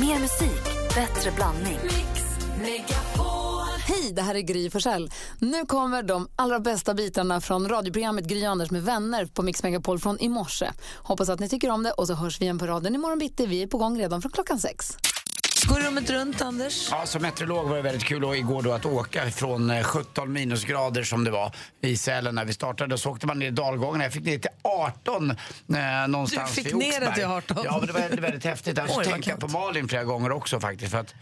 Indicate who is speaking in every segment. Speaker 1: Mer musik, bättre blandning.
Speaker 2: Hej, det här är Gry Forssell. Nu kommer de allra bästa bitarna från radioprogrammet Gry Anders med vänner på Mix Megapol från i morse. Hoppas att ni tycker om det och så hörs vi igen på raden imorgon bitti. Vi är på gång redan från klockan sex.
Speaker 3: Går rummet runt, Anders?
Speaker 4: Ja, som meteorolog var det väldigt kul och igår då att åka från eh, 17 minusgrader som det var i Sälen när vi startade. Så åkte man ner dalgångarna. Jag fick ner till 18 eh, någonstans
Speaker 3: Du fick
Speaker 4: vid
Speaker 3: ner det
Speaker 4: Oxberg.
Speaker 3: till 18.
Speaker 4: Ja, men det var väldigt, väldigt häftigt.
Speaker 3: Oj,
Speaker 4: Annars
Speaker 3: vad
Speaker 4: tänkte jag på
Speaker 3: kallt.
Speaker 4: Malin flera gånger också faktiskt. För att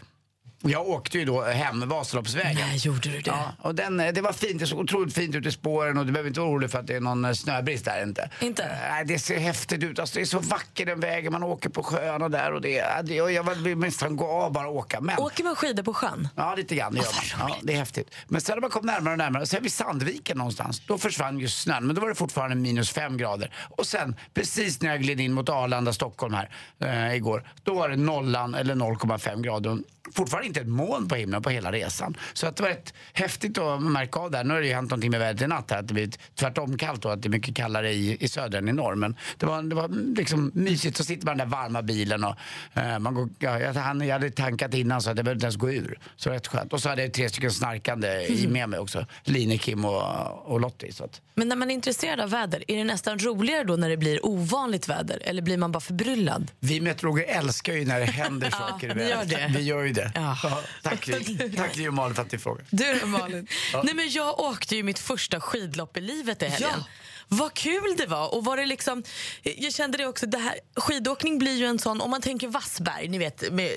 Speaker 4: jag åkte ju då hem Vasaloppsvägen.
Speaker 3: Nej, gjorde du det?
Speaker 4: Ja, och den, eh, det var fint, det såg otroligt fint ut i spåren och du behöver inte vara orolig för att det är någon eh, snöbrist där inte.
Speaker 3: Inte?
Speaker 4: Eh, Nej, det ser häftigt ut. Alltså, det är så vacker den vägen, man åker på sjöarna där och det, ja, det- jag, jag vill nästan gå av bara och åka. Men,
Speaker 3: Åker man skidor på sjön?
Speaker 4: Ja, lite grann det gör man. Ja, det är häftigt. Men sen när man kom närmare och närmare, sen vid Sandviken någonstans, då försvann ju snön. Men då var det fortfarande minus fem grader. Och sen, precis när jag gled in mot Arlanda, Stockholm här eh, igår, då var det nollan eller 0,5 grader. Och Fortfarande inte ett moln på himlen på hela resan. Så att det var rätt häftigt att märka av där. Nu har det ju hänt någonting med vädret i natt här, att det blivit tvärtom kallt och att det är mycket kallare i, i söder än i norr. Men det var, det var liksom mysigt, så sitter man i den där varma bilen och eh, man går, ja, jag, han, jag hade tankat innan så att jag behövde inte ens gå ur. Så rätt skönt. Och så hade jag tre stycken snarkande
Speaker 3: Mm.
Speaker 4: i med mig också. Line, Kim och, och Lottie. Så att,
Speaker 3: Men när man är intresserad av väder, är det nästan roligare då när det blir ovanligt väder? Eller blir man bara förbryllad?
Speaker 4: vi meteorologer älskar ju när det händer saker i
Speaker 3: ni
Speaker 4: vädret.
Speaker 3: gör det.
Speaker 4: Vi gör ju det.
Speaker 3: Ja.
Speaker 4: tack vi. tack vi och Malin för att ni frågar.
Speaker 3: Du Malin? Nej, men jag åkte ju mitt första skidlopp i livet i helgen.
Speaker 4: Ja.
Speaker 3: Vad kul det var! Och var det liksom, jag kände det också, det här, skidåkning blir ju en sån, om man tänker Vassberg, ni vet med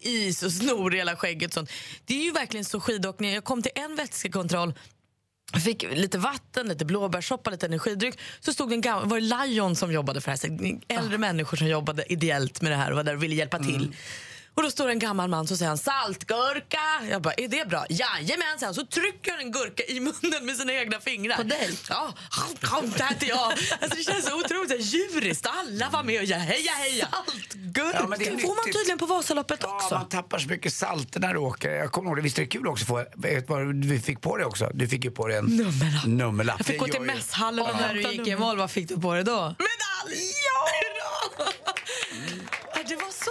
Speaker 3: is och snor i hela skägget och sånt. Det är ju verkligen så skidåkning, jag kom till en vätskekontroll fick lite vatten, lite blåbärssoppa, lite energidryck. Så stod det en gammal, var det Lion som jobbade för det här? så Äldre människor som jobbade ideellt med det här och var där och ville hjälpa till. Och då står det en gammal man som säger han saltgurka. Jag bara, är det bra? Jajamän, säger han. Så trycker han en gurka i munnen med sina egna fingrar. På dig? Ja, kom, det här till jag. Alltså, det känns så otroligt så här djuriskt. Alla var med och ja, heja, heja. Saltgurka?
Speaker 4: Ja, men det
Speaker 3: det
Speaker 4: är
Speaker 3: får man
Speaker 4: nyttigt.
Speaker 3: tydligen på Vasaloppet också.
Speaker 4: Ja, man tappar så mycket salter när du åker. Jag kommer ihåg det. Visst är det kul också att få, vet du vad du fick på dig också? Du fick ju på dig en
Speaker 3: Nummerlapp.
Speaker 4: nummerlapp.
Speaker 3: Jag fick
Speaker 4: Det
Speaker 3: gå till
Speaker 4: gör ju-
Speaker 3: mässhallen och hämta nummer.
Speaker 5: vad fick du på dig då?
Speaker 3: Medalj! Ja! Ja, Det var så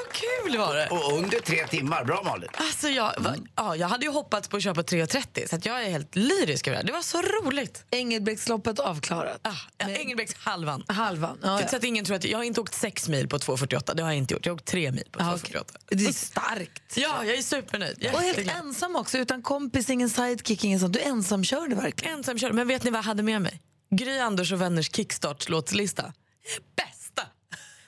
Speaker 3: kul var det.
Speaker 4: Och under tre timmar. Bra Malin.
Speaker 3: Alltså jag, va, ja, jag hade ju hoppats på att köpa 3,30 så att jag är helt lyrisk över det här. Det var så roligt.
Speaker 5: Engelbrektsloppet avklarat.
Speaker 3: Ah, Engelbrekts halvan.
Speaker 5: Halvan. Ja,
Speaker 3: Typ Så
Speaker 5: ja.
Speaker 3: att ingen tror att jag har inte åkt 6 mil på 2,48. Det har jag inte gjort. Jag har åkt 3 mil på 2,48.
Speaker 5: Ja, okej. Det är starkt.
Speaker 3: Ja, jag är supernöjd.
Speaker 5: Och helt
Speaker 3: Jätteglad.
Speaker 5: ensam också, utan kompis, ingen sidekick, ingen sånt. Du ensam körde verkligen.
Speaker 3: ensam körde. Men vet ni vad jag hade med mig? Gry Anders och vänners kickstart-låtslista. Bästa!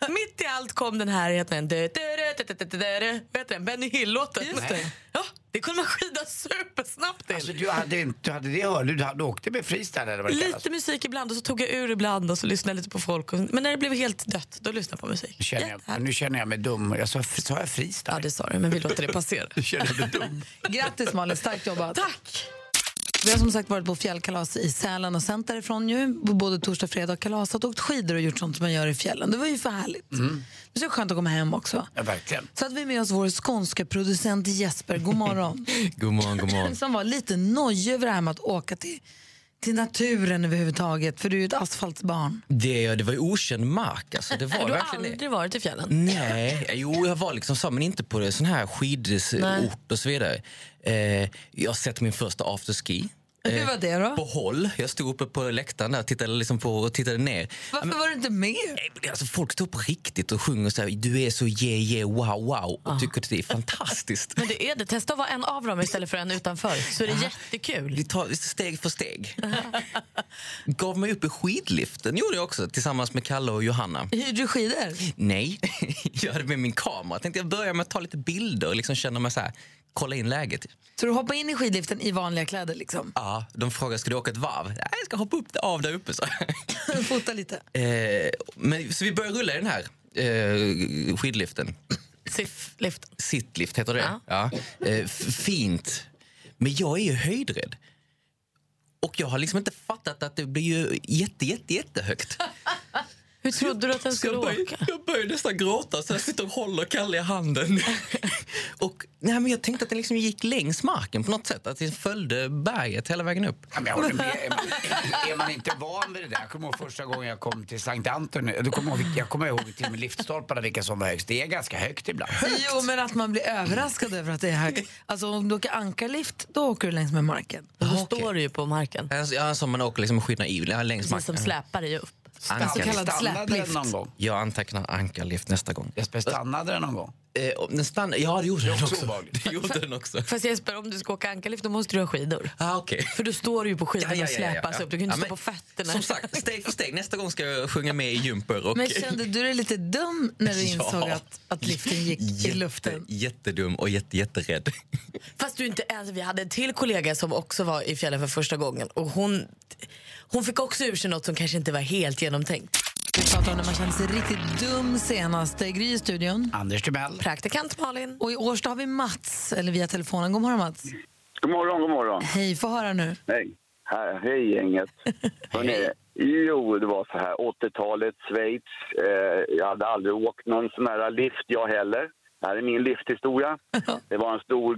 Speaker 3: Mitt i allt kom den här, heter den, du, du, du, du, du, du, du, du. vet du den? Benny Hill-låten.
Speaker 4: Just det.
Speaker 3: Ja, det kunde man skida supersnabbt till.
Speaker 4: Alltså, du, hade, inte- du hade det hörde du, hade- du åkte med freestyle eller vad det kallas.
Speaker 6: alltså-
Speaker 3: Lite musik ibland och så tog jag ur ibland och så lyssnade jag lite på folk. Och, men när det blev helt dött, då lyssnade jag på musik.
Speaker 4: Nu Känner jag, nu känner jag mig dum. Jag sa, sa jag freestyle?
Speaker 3: Ja, det sa du, men vi låter det passera.
Speaker 4: Nu känner jag mig dum.
Speaker 5: Grattis Malin, starkt jobbat.
Speaker 3: Tack!
Speaker 5: Vi har som sagt varit på fjällkalas i Sälen och sänt därifrån ju, både torsdag och fredag och kalasat, åkt skidor och gjort sånt som man gör i fjällen. Det var ju för härligt. Mm. Det är så skönt att komma hem också.
Speaker 4: Ja, verkligen.
Speaker 5: Så att vi med oss vår skånska producent Jesper, god morgon.
Speaker 6: God morgon, god morgon.
Speaker 5: som var lite nojig över det här med att åka till, till naturen överhuvudtaget, för du är ju ett asfaltsbarn.
Speaker 6: Det, det var ju okänd mark. Alltså, det var
Speaker 3: Du har
Speaker 6: verkligen det.
Speaker 3: aldrig varit i fjällen?
Speaker 6: Nej, jo jag var liksom så, men inte på det, sån här skidort och så vidare. Eh, jag har sett min första afterski. Eh,
Speaker 5: Hur var det då?
Speaker 6: På håll. Jag stod uppe på läktaren där och tittade, liksom på, och tittade ner.
Speaker 5: Varför var du inte med?
Speaker 6: Nej, men Alltså, folk står på riktigt och sjunger så här, du är så yeah yeah wow wow och tycker att det är fantastiskt.
Speaker 3: Men det är det. Testa att vara en av dem istället för en utanför, så är det jättekul.
Speaker 6: Vi tar steg för steg. Gav mig upp i skidliften gjorde jag också tillsammans med Kalle och Johanna.
Speaker 5: Hyrde du skidor?
Speaker 6: Nej, jag hade med min kamera. Tänkte jag börja med att ta lite bilder och liksom känna mig så här, kolla in läget.
Speaker 5: Så du hoppade in i skidliften i vanliga kläder liksom?
Speaker 6: Ja, de frågade ska du åka ett varv. Nej, jag ska hoppa upp av där uppe. Så,
Speaker 5: Fota lite.
Speaker 6: eh, men, så vi börjar rulla i den här eh, skidliften.
Speaker 3: Siff, lift.
Speaker 6: Sittlift heter det.
Speaker 3: Ja.
Speaker 6: Ja. Eh, f- fint. Men jag är ju höjdrädd. Och jag har liksom inte fattat att det blir ju jätte, jätte, jättehögt.
Speaker 3: Hur trodde du att den
Speaker 6: Så
Speaker 3: skulle
Speaker 6: jag, börj-
Speaker 3: åka?
Speaker 6: jag började nästan gråta så jag sitter och håller Kalle i handen. och nej, men jag tänkte att den liksom gick längs marken på något sätt. Att den följde berget hela vägen upp.
Speaker 4: Ja, men jag håller med. Är man- Är man inte van vid det där? Jag kommer ihåg första gången jag kom till Sankt Antoni. Du kommer ihåg, jag kommer ihåg till och med liftstolparna vilka som var högst. Det är ganska högt ibland.
Speaker 5: Jo, men att man blir överraskad över att det är högt. Alltså om du åker ankarlift, då åker du längs med marken.
Speaker 3: Och då
Speaker 6: Ah, okej.
Speaker 3: står du ju på marken.
Speaker 6: Alltså, ja, som man åker liksom och skyddar i ja, längs
Speaker 3: Precis som
Speaker 6: marken. Ah,
Speaker 3: släpar dig upp.
Speaker 4: Stann-
Speaker 6: så
Speaker 5: kallad
Speaker 4: stannade den
Speaker 5: släplift.
Speaker 4: någon gång?
Speaker 6: Jag antecknar ankarlift nästa gång.
Speaker 4: Jesper, stannade den någon gång?
Speaker 6: Eh, och den stann... Ja, det gjorde den
Speaker 4: också
Speaker 6: också.
Speaker 4: obehagligt.
Speaker 6: Det gjorde den också.
Speaker 3: Fast Jesper, om du ska åka ankarlift då måste du ha skidor.
Speaker 6: Ah, okej.
Speaker 3: För då står du ju på
Speaker 6: Ja,
Speaker 3: skidorna
Speaker 6: ja,
Speaker 3: och
Speaker 6: ja, ja,
Speaker 3: släpas
Speaker 6: ja.
Speaker 3: upp. Du kan ju inte
Speaker 6: Ja,
Speaker 3: stå
Speaker 6: men
Speaker 3: på fötterna.
Speaker 6: Som sagt, steg för steg. Nästa gång ska jag sjunga med i jumper. Och...
Speaker 5: Men kände du dig lite dum när du insåg
Speaker 6: Ja.
Speaker 5: att, att liften gick i luften?
Speaker 6: Jättedum och jätte, jätterädd.
Speaker 3: Fast du inte ens, vi hade en till kollega som också var i fjällen för första gången och hon, hon fick också ur sig något som kanske inte var helt genomtänkt.
Speaker 5: Vi pratade om när man kände sig riktigt dum senast. Det är Gry i studion.
Speaker 4: Anders Timell.
Speaker 3: Praktikant Malin.
Speaker 5: Och i Årsta har vi Mats, eller via telefonen. God morgon Mats.
Speaker 7: God morgon, god morgon.
Speaker 5: Hej, få höra nu.
Speaker 7: Hej, här, hej gänget. Hörrni, jo, det var så här. 80-talet, Schweiz. Eh, jag hade aldrig åkt någon sån här lift jag heller. Det här är min lifthistoria. Det var en stor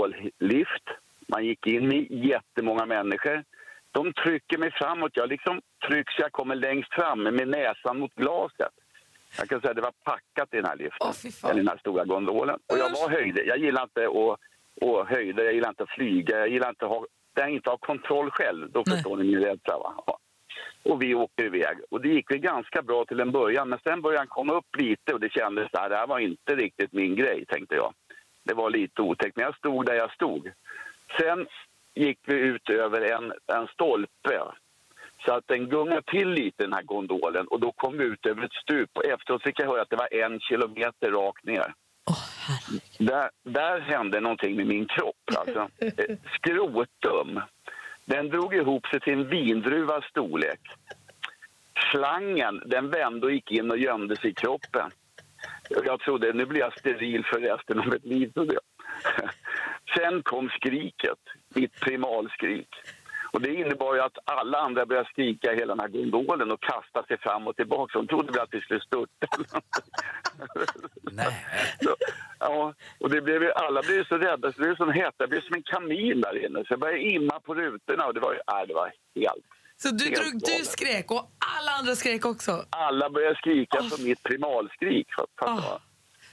Speaker 7: gondollift. Man gick in i jättemånga människor. De trycker mig framåt. Jag liksom trycks, jag kommer längst fram med näsan mot glaset. Jag kan säga att det var packat i den här liften,
Speaker 5: Åh, fy fan.
Speaker 7: eller den här stora gondolen. Och jag var höjde. Jag gillar inte att och höjder, jag gillar inte att flyga, jag gillar inte att ha, där jag inte har kontroll själv. Då förstår ni min rädsla. Va? Ja. Och vi åker iväg. Och det gick väl ganska bra till en början, men sen började han komma upp lite och det kändes att det här var inte riktigt min grej, tänkte jag. Det var lite otäckt, men jag stod där jag stod. Sen gick vi ut över en, en stolpe så att den gungade till lite, den här gondolen, och då kom vi ut över ett stup. Och efteråt fick jag höra att det var en kilometer rakt ner. där, där hände någonting med min kropp. Alltså. Eh, Skrotum. Den drog ihop sig till en vindruvas storlek. Slangen, den vände och gick in och gömde sig i kroppen. Jag trodde nu blir jag steril för resten av mitt liv. trodde jag. Sen kom skriket, mitt primalskrik. Och det innebar ju att alla andra började skrika i hela den här gondolen och kasta sig fram och tillbaka. De trodde väl att vi skulle störta.
Speaker 4: Nej.
Speaker 7: Så, ja, och det blev ju, alla blev ju så rädda, så det blev som hett. Jag blev som en kamin där inne. Så jag började imma på rutorna och det var ju, nej, det var helt...
Speaker 5: Så du,
Speaker 7: Helt
Speaker 5: drog, du
Speaker 7: galet.
Speaker 5: skrek och alla andra skrek också.
Speaker 7: Alla började skrika på mitt primalskrik. Fatt- fattar
Speaker 5: Oh.
Speaker 7: man?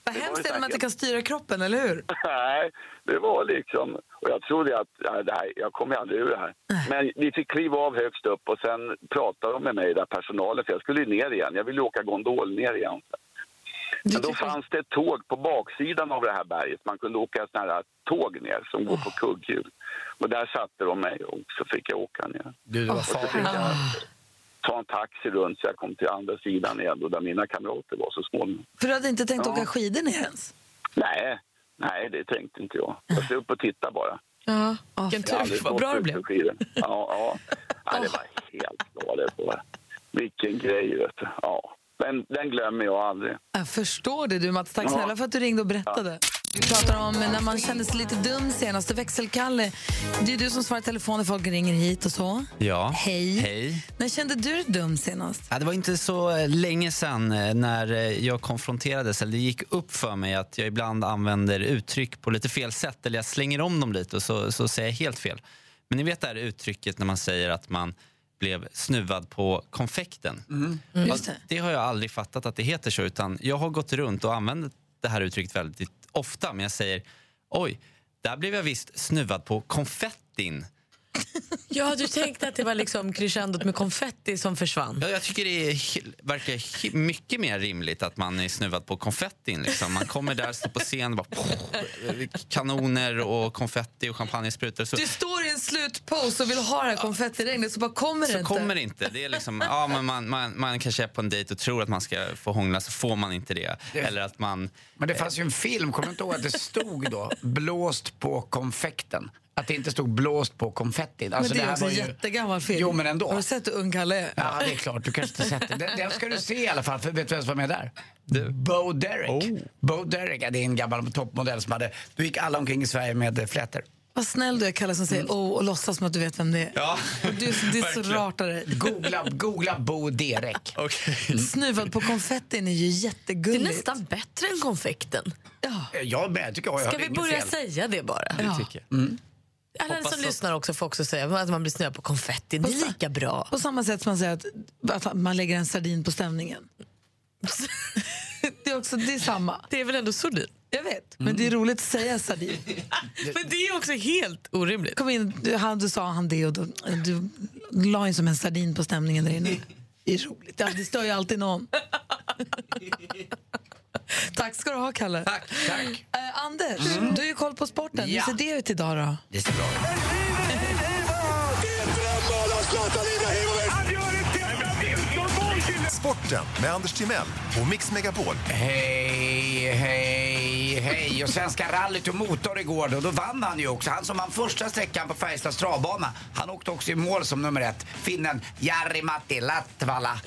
Speaker 5: Vad
Speaker 7: Det var
Speaker 5: hemskt
Speaker 7: ju
Speaker 5: är det när man inte
Speaker 7: säkert.
Speaker 5: kan styra kroppen, eller hur?
Speaker 7: Nej, det var liksom... Och jag trodde att nej, det här, jag kommer aldrig ur det här. Men vi fick kliva av högst upp och sen pratade de med mig, där personalen, för jag skulle ju ner igen. Jag ville åka gondol ner igen. Men då fanns det ett tåg på baksidan av det här berget. Man kunde åka sådana här tåg ner som går på
Speaker 5: Ah.
Speaker 7: kugghjul. Och där satte de mig och så fick jag åka ner.
Speaker 4: Du, det var farligt.
Speaker 7: Ta en taxi runt så jag kom till andra sidan igen då, där mina kamrater var så småningom.
Speaker 5: För du hade inte tänkt
Speaker 7: Ja.
Speaker 5: åka skidor ner ens?
Speaker 7: Nej, nej det tänkte inte jag. Jag stod upp och tittade bara.
Speaker 5: Ja. Oh,
Speaker 3: Vilken
Speaker 7: Alltså, Jag har aldrig
Speaker 3: tur,
Speaker 7: stått
Speaker 3: vad bra det
Speaker 7: ut
Speaker 3: blev.
Speaker 7: med skidor. Ja, ja. Nej, det var helt galet. det var. Vilken grej, vet du. Ja. Den, den glömmer jag aldrig.
Speaker 5: jag förstår det du Mats. Tack
Speaker 7: Ja.
Speaker 5: snälla för att du ringde och berättade. Vi pratar om när man kände sig lite dum senast. Växelkalle, det är du som svarar i telefon när folk ringer hit och så.
Speaker 8: Ja.
Speaker 5: Hej.
Speaker 8: Hej.
Speaker 5: När kände du dig dum senast?
Speaker 8: Ja, det var inte så eh, länge sedan eh, när eh, jag konfronterades, eller det gick upp för mig att jag ibland använder uttryck på lite fel sätt, eller jag slänger om dem lite och så, så säger jag helt fel. Men ni vet det här uttrycket när man säger att man blev snuvad på konfekten.
Speaker 9: Mm.
Speaker 8: Ja,
Speaker 5: Mm. Just det.
Speaker 8: det har jag aldrig fattat att det heter så, utan jag har gått runt och använt det här uttrycket väldigt ofta, men jag säger oj, där blev jag visst snuvad på konfettin.
Speaker 3: Ja, du tänkte att det var liksom crescendot med konfetti som försvann.
Speaker 8: Ja, jag tycker det är, hi- verkar hi- mycket mer rimligt att man är snuvad på konfettin. Liksom. Man kommer där, står på scen, bara, kanoner och konfetti och champagnesprutor. Så,
Speaker 5: Du står i en slutpose och vill ha det här konfettiregnet så bara kommer det
Speaker 8: så
Speaker 5: inte.
Speaker 8: kommer det inte. Det är liksom, ja, men man, man, man kanske är på en dejt och tror att man ska få hångla, så får man inte det. Eller att man...
Speaker 4: Men det fanns ju en film, kommer du inte ihåg att det stod då blåst på konfekten? Att det inte stod blåst på konfettin.
Speaker 5: Men
Speaker 4: Alltså,
Speaker 5: det är
Speaker 4: här
Speaker 5: också
Speaker 4: var
Speaker 5: en
Speaker 4: ju-
Speaker 5: jättegammal film.
Speaker 4: Jo, men ändå.
Speaker 5: Har du sett hur ung Kalle är?
Speaker 4: Ja, det är klart. Du kanske inte sett den. Den, den ska du se i alla fall, för vet du vem som var med där? Bo Derek. Bo Derek, ja, det är en gammal toppmodell som hade... Då gick alla omkring i Sverige med eh, flätor.
Speaker 5: Vad snäll du är, Kalle, som säger oh och låtsas som att du vet vem det är.
Speaker 6: Ja,
Speaker 5: Och du, det Mm. är så
Speaker 6: verkligen.
Speaker 5: rart av dig.
Speaker 4: Googla, googla Bo Derek.
Speaker 6: Okej.
Speaker 4: Mm.
Speaker 5: Snuvad på konfettin är ju
Speaker 3: Det är
Speaker 5: jättegulligt.
Speaker 3: nästan bättre än konfekten.
Speaker 4: Eh, Jag med, tycker jag. jag
Speaker 3: Ska
Speaker 4: hörde
Speaker 3: vi
Speaker 4: inget
Speaker 3: börja
Speaker 4: fel.
Speaker 3: säga det bara?
Speaker 6: Det tycker jag.
Speaker 5: Mm.
Speaker 3: Alla som
Speaker 6: Hoppas att-
Speaker 3: lyssnar också får också säga att man blir snö på konfetti. Det är lika bra.
Speaker 5: På samma sätt som man säger att, att man lägger en sardin på stämningen. det är också det är samma.
Speaker 3: Det är väl ändå sordin?
Speaker 5: Jag vet, men det är roligt att säga sardin.
Speaker 3: Men det är också helt orimligt.
Speaker 5: Kom in, du, han, du sa han det och då, du la in som en sardin på stämningen där inne. Det är roligt. Ja, Det stör ju alltid någon. Tack ska du ha, Kalle.
Speaker 4: Tack, tack. Mm.
Speaker 5: Eh, Anders, du har ju koll på sporten.
Speaker 4: Ja.
Speaker 5: Hur ser det ut idag då?
Speaker 4: Det ser bra ut.
Speaker 10: Sporten med Anders Timell och Mix Megapol.
Speaker 4: Hej, hej, hej. Och Svenska rallyt och motor igår då, då vann han ju också. Han som vann första sträckan på Färjestads travbana. Han åkte också i mål som nummer ett. Finnen Jari Matti Latvala.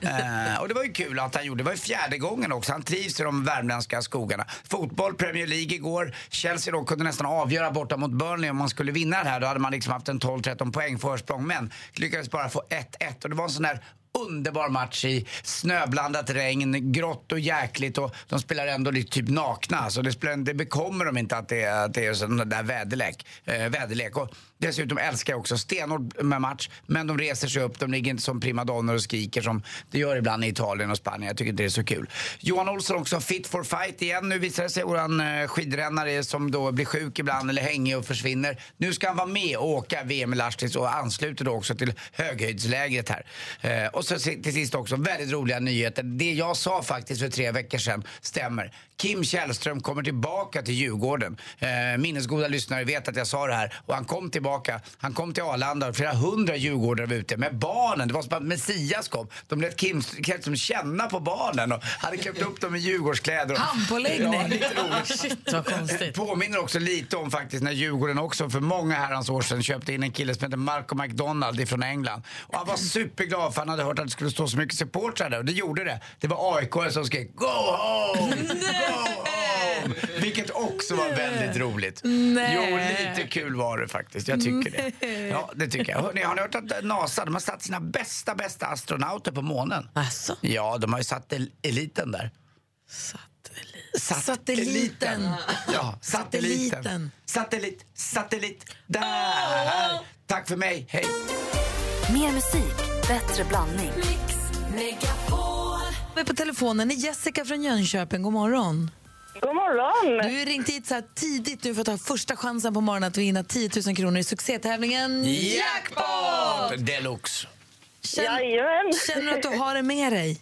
Speaker 4: eh, och det var ju kul att han gjorde. Det var ju fjärde gången också. Han trivs i de värmländska skogarna. Fotboll, Premier League igår. Chelsea då kunde nästan avgöra borta mot Burnley om man skulle vinna det här. Då hade man liksom haft en 12-13 poäng försprång. Men lyckades bara få 1-1 och det var en sån där underbar match i snöblandat regn, grått och jäkligt och de spelar ändå lite typ nakna. Så det, spelar, det bekommer de inte att det, är- att det är sån där väderlek. Eh, väderlek. Och dessutom älskar jag också stenhård med match, men de reser sig upp, de ligger inte som primadonnor och skriker som det gör ibland i Italien och Spanien. Jag tycker inte det är så kul. Johan Olsson också fit for fight igen. Nu visar det sig, våran eh, skidrännare som då blir sjuk ibland eller hängig och försvinner. Nu ska han vara med och åka VM i Lahtis och ansluter då också till höghöjdslägret här. Eh, och så si- till sist också väldigt roliga nyheter. Det jag sa faktiskt för tre veckor sedan stämmer. Kim Källström kommer tillbaka till Djurgården. Eh, minnesgoda lyssnare vet att jag sa det här och han kom tillbaka. Han kom till Arlanda och flera hundra djurgårdare var ute med barnen. Det var som att Messias kom. De lät Kim Källström känna på barnen och hade köpt upp dem i Djurgårdskläder.
Speaker 5: Handpåläggning.
Speaker 4: Ja, lite roligt.
Speaker 3: Shit vad
Speaker 4: Det
Speaker 3: konstigt.
Speaker 4: påminner också lite om faktiskt när Djurgården också för många herrans år sedan köpte in en kille som heter Marco McDonald från England. Och han var superglad för han hade hört att det skulle stå så mycket supportrar där och det gjorde det. Det var AIK som skrek Go home! Go home! Vilket också var väldigt roligt.
Speaker 5: Nej.
Speaker 4: Jo, lite kul var det faktiskt. Jag tycker det. Ja, det tycker jag. Hörrni, har ni hört att eh, NASA de har satt sina bästa, bästa astronauter på månen?
Speaker 3: Alltså,
Speaker 4: Ja, de har ju satt el- eliten där. Satellit.
Speaker 5: Satelliten.
Speaker 4: Ja, satelliten.
Speaker 5: Satelliten.
Speaker 4: Satellit, satellit, där! Tack för mig, hej!
Speaker 1: Mer musik, bättre blandning.
Speaker 5: Vi är på telefonen är Jessica från Jönköping. God morgon.
Speaker 11: God morgon!
Speaker 5: Du har ringt hit så här tidigt nu för att ta första chansen på morgonen att vinna 10 000 kronor i succétävlingen
Speaker 4: Jackpot! Deluxe.
Speaker 5: Känn,
Speaker 11: Jajamän!
Speaker 5: känner du att du har det med dig?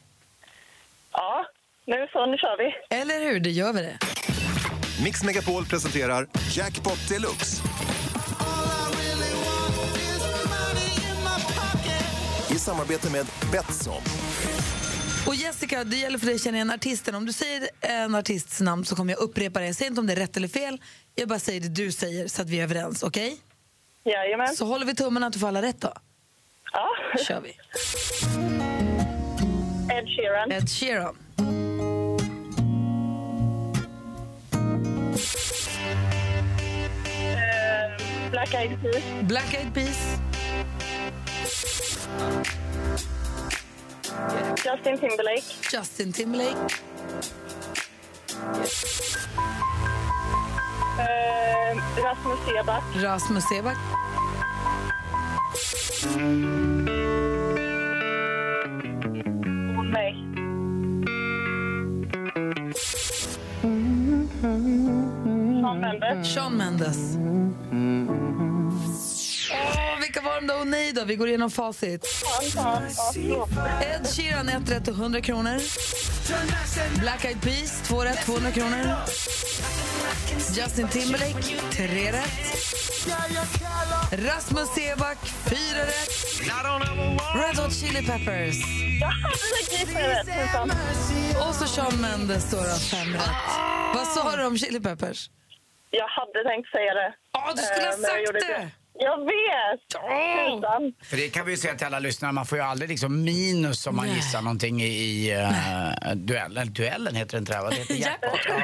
Speaker 11: Ja, nu så, nu kör vi.
Speaker 5: Eller hur? Det gör vi det.
Speaker 10: Mix Megapol presenterar Jackpot Deluxe. I samarbete med Betsson.
Speaker 5: Och Jessica, det gäller för dig att känna igen artisten. Om du säger en artists namn så kommer jag upprepa det. Jag säger inte om det är rätt eller fel. Jag bara säger det du säger så att vi är överens. Okej?
Speaker 11: Jajamän.
Speaker 5: Så håller vi tummen att du får alla rätt då.
Speaker 11: Ja.
Speaker 5: kör vi.
Speaker 11: Ed Sheeran.
Speaker 5: Ed Sheeran.
Speaker 11: Eh, Black Eyed Peas.
Speaker 5: Black Eyed Peas.
Speaker 11: Justin Timberlake.
Speaker 5: Justin Timberlake.
Speaker 11: Eh, Rasmus Seback.
Speaker 5: Rasmus Seback.
Speaker 11: Och mig. Sean Mendes.
Speaker 5: Sean Mendes. Åh, vilka var de då? Åh nej då, vi går igenom facit.
Speaker 11: Fan, fan. Ja, förlåt.
Speaker 5: Ed Sheeran, 1 rätt och 100 kronor. Black Eyed Peas, 2 rätt, 200 kronor. Justin Timberlake, 3 rätt. Rasmus Seback, 4 rätt. Red Hot Chili Peppers.
Speaker 11: Ja, det gissade jag rätt. Fy fan.
Speaker 5: Och så Sean Mendes, då, då, 5 rätt. Vad sa du om Chili Peppers?
Speaker 11: Jag hade tänkt säga det.
Speaker 5: Ja, du skulle ha
Speaker 11: Eh, men jag
Speaker 5: sagt
Speaker 11: gjorde
Speaker 5: det!
Speaker 11: Jag vet! Tusan.
Speaker 4: För det kan vi ju säga till alla lyssnare, man får ju aldrig liksom minus om man gissar någonting i, i eh, duellen. Duellen heter det inte det här, va? Det heter jackpot. Ja.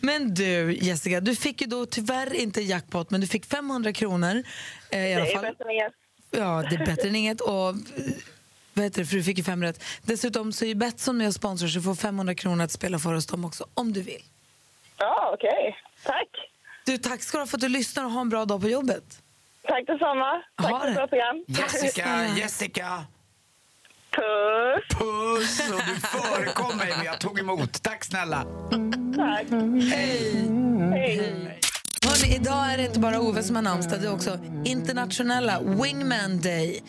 Speaker 5: Men du, Jessica, du fick ju då tyvärr inte jackpot, men du fick 500 kronor eh, i alla
Speaker 11: Det är
Speaker 5: fall.
Speaker 11: bättre än inget.
Speaker 5: Ja, det är bättre än inget. Och, eh, vad heter det, för du fick ju fem rätt. Dessutom så är ju Betsson med och sponsrar, så du får 500 kronor att spela för oss dem också, om du vill.
Speaker 11: Ja, okej. Tack.
Speaker 5: Du, tack ska du ha för att du lyssnar och ha en bra dag på jobbet.
Speaker 11: Tack detsamma.
Speaker 5: Ha
Speaker 11: Tack för
Speaker 5: det.
Speaker 11: ett bra program.
Speaker 4: Jessica, Jessica!
Speaker 11: Puss!
Speaker 4: Puss! Och du förekom mig, men jag tog emot. Tack snälla!
Speaker 11: Tack. Hej. Hej.
Speaker 5: Hörrni, idag är det inte bara Ove som har namnsdag, det är också internationella Wingman Day.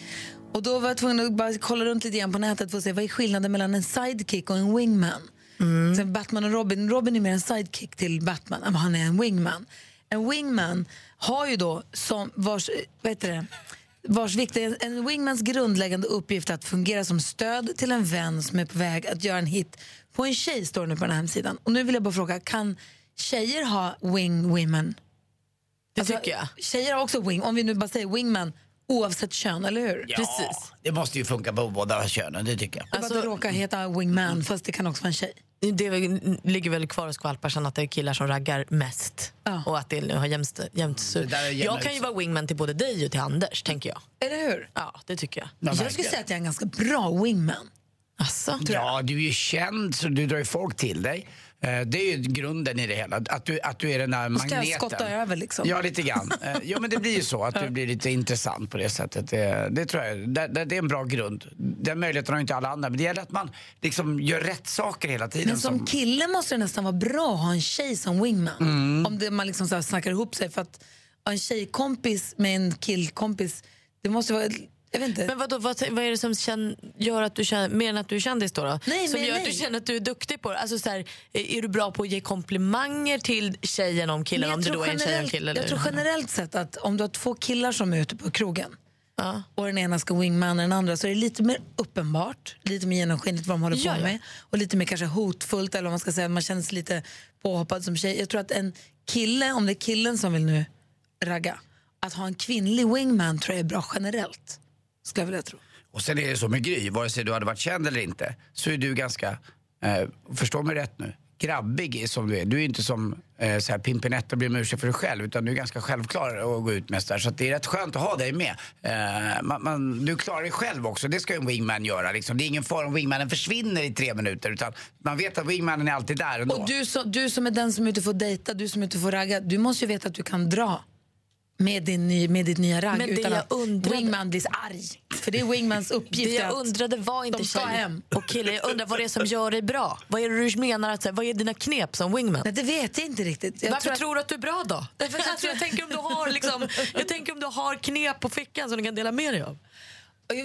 Speaker 5: Och då var jag tvungen att bara kolla runt lite igen på nätet för att se vad är skillnaden mellan en sidekick och en wingman. Så Batman och Robin, Robin är mer en sidekick till Batman, men han är en wingman. En wingman har ju då som vars, vad heter det? vars vikt är en wingmans grundläggande uppgift är att fungera som stöd till en vän som är på väg att göra en hit på en tjej, står det nu på den här hemsidan. Och nu vill jag bara fråga, kan tjejer ha wing women?
Speaker 3: Det
Speaker 5: Alltså,
Speaker 3: tycker jag.
Speaker 5: Tjejer har också wing, om vi nu bara säger wingman, oavsett kön, eller hur? Ja.
Speaker 3: Precis.
Speaker 4: Det måste ju funka på båda könen, det tycker jag.
Speaker 5: Det alltså, bara att det råkar heta wingman, fast det kan också vara en tjej.
Speaker 3: Mm. Det är väl- ligger väl kvar och skvalpar sen att det är killar som raggar mest.
Speaker 5: Ja.
Speaker 3: Och att det nu har jämst, jämst
Speaker 4: Det där är jämna
Speaker 3: Jag kan ju
Speaker 4: huset.
Speaker 3: vara wingman till både dig och till Anders, tänker jag.
Speaker 5: Eller hur?
Speaker 3: Ja, det tycker jag.
Speaker 4: Ja,
Speaker 5: jag skulle säga att jag är en ganska bra wingman.
Speaker 3: Alltså,
Speaker 4: Ja, du är ju känd så du drar ju folk till dig. Eh, Det är ju grunden i det hela, att du, att du är den där
Speaker 5: ska jag
Speaker 4: magneten.
Speaker 5: skotta över, liksom?
Speaker 4: Ja, lite grann. Eh, Jo, men det blir ju så att du blir lite intressant på det sättet. Det, det tror jag, det, det det är en bra grund. Den möjligheten har ju inte alla andra, men det gäller att man liksom gör rätt saker hela tiden.
Speaker 5: Men som kille måste det nästan vara bra att ha en tjej som wingman.
Speaker 4: Mm.
Speaker 5: Om det, man liksom så här snackar ihop sig. För att ha en tjejkompis med en killkompis, det måste vara... Jag vet inte.
Speaker 3: Men vadå, vad, vad är det som känn, gör att du känner, mer än att du är kändis då? då?
Speaker 5: Nej,
Speaker 3: som
Speaker 5: men
Speaker 3: gör
Speaker 5: nej.
Speaker 3: att du känner att du är duktig på det? Alltså, så här, är är du bra på att ge komplimanger till tjejen om
Speaker 5: Men
Speaker 3: killen?
Speaker 5: jag
Speaker 3: Om det
Speaker 5: tror
Speaker 3: då är en tjej och en
Speaker 5: generellt-
Speaker 3: kille?
Speaker 5: Jag
Speaker 3: eller-
Speaker 5: tror generellt sett att om du har två killar som är ute på krogen
Speaker 3: Ja.
Speaker 5: och den ena ska wingmana den andra så är det lite mer uppenbart, lite mer genomskinligt vad de håller på
Speaker 3: Ja, ja.
Speaker 5: med och lite mer kanske hotfullt eller vad man ska säga, man känns lite påhoppad som tjej. Jag tror att en kille, om det är killen som vill nu ragga, att ha en kvinnlig wingman tror jag är bra generellt. Skulle jag vilja tro.
Speaker 4: Och sen är det så med Gry, vare sig du hade varit känd eller inte, så är du ganska, eh, förstå mig rätt nu, grabbig som du är. Du är ju inte som eh, så här Pimpinetta blir om ursäkt för dig själv, utan du är ganska självklar att gå ut med sådär. Så att det är rätt skönt att ha dig med. Eh, man, man, du klarar dig själv också, det ska ju en wingman göra. Liksom. Det är ingen fara om wingmanen försvinner i tre minuter, utan man vet att wingmanen är alltid där ändå.
Speaker 5: Och du, så, du som är den som är ute för att dejta, du som är ute för att ragga, du måste ju veta att du kan dra med, din ny, med ditt nya ragg
Speaker 3: Men det
Speaker 5: utan
Speaker 3: jag
Speaker 5: att
Speaker 3: undrade-
Speaker 5: wingman blir så arg. För det är wingmans
Speaker 3: Det
Speaker 5: uppgift.
Speaker 3: jag
Speaker 5: att-
Speaker 3: undrade var inte
Speaker 5: de ska
Speaker 3: tjejen
Speaker 5: hem.
Speaker 3: och killen. Jag undrar vad det är som gör dig bra. Vad är det du menar? Att, så här, vad är dina knep som wingman?
Speaker 5: Nej, det vet jag inte riktigt. Jag
Speaker 3: Varför
Speaker 5: tror att-
Speaker 3: tror du att du är bra då? Därför att jag, tror, jag, tänker om du har, liksom, jag tänker om du har knep på fickan som du kan dela med dig av.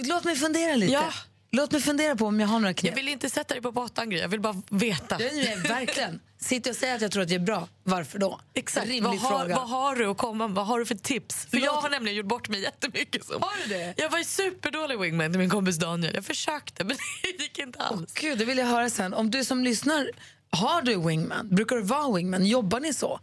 Speaker 5: Låt mig fundera lite.
Speaker 3: Ja.
Speaker 5: Låt mig fundera på om jag har några knep.
Speaker 3: Jag vill inte sätta dig på botten, Gry. Jag vill bara veta.
Speaker 5: Jag är verkligen. Sitter jag och säger att jag tror att jag är bra, varför då?
Speaker 3: Exakt.
Speaker 5: Rimlig
Speaker 3: Vad har,
Speaker 5: fråga.
Speaker 3: vad har du att komma med? Vad har du för tips? För jag har nämligen gjort bort mig jättemycket. Som.
Speaker 5: Har du det?
Speaker 3: Jag var ju superdålig wingman till min kompis Daniel. Jag försökte men det gick inte alls.
Speaker 5: Gud, det vill jag höra sen. Om du som lyssnar, har du wingman? Brukar du vara wingman? Jobbar ni så?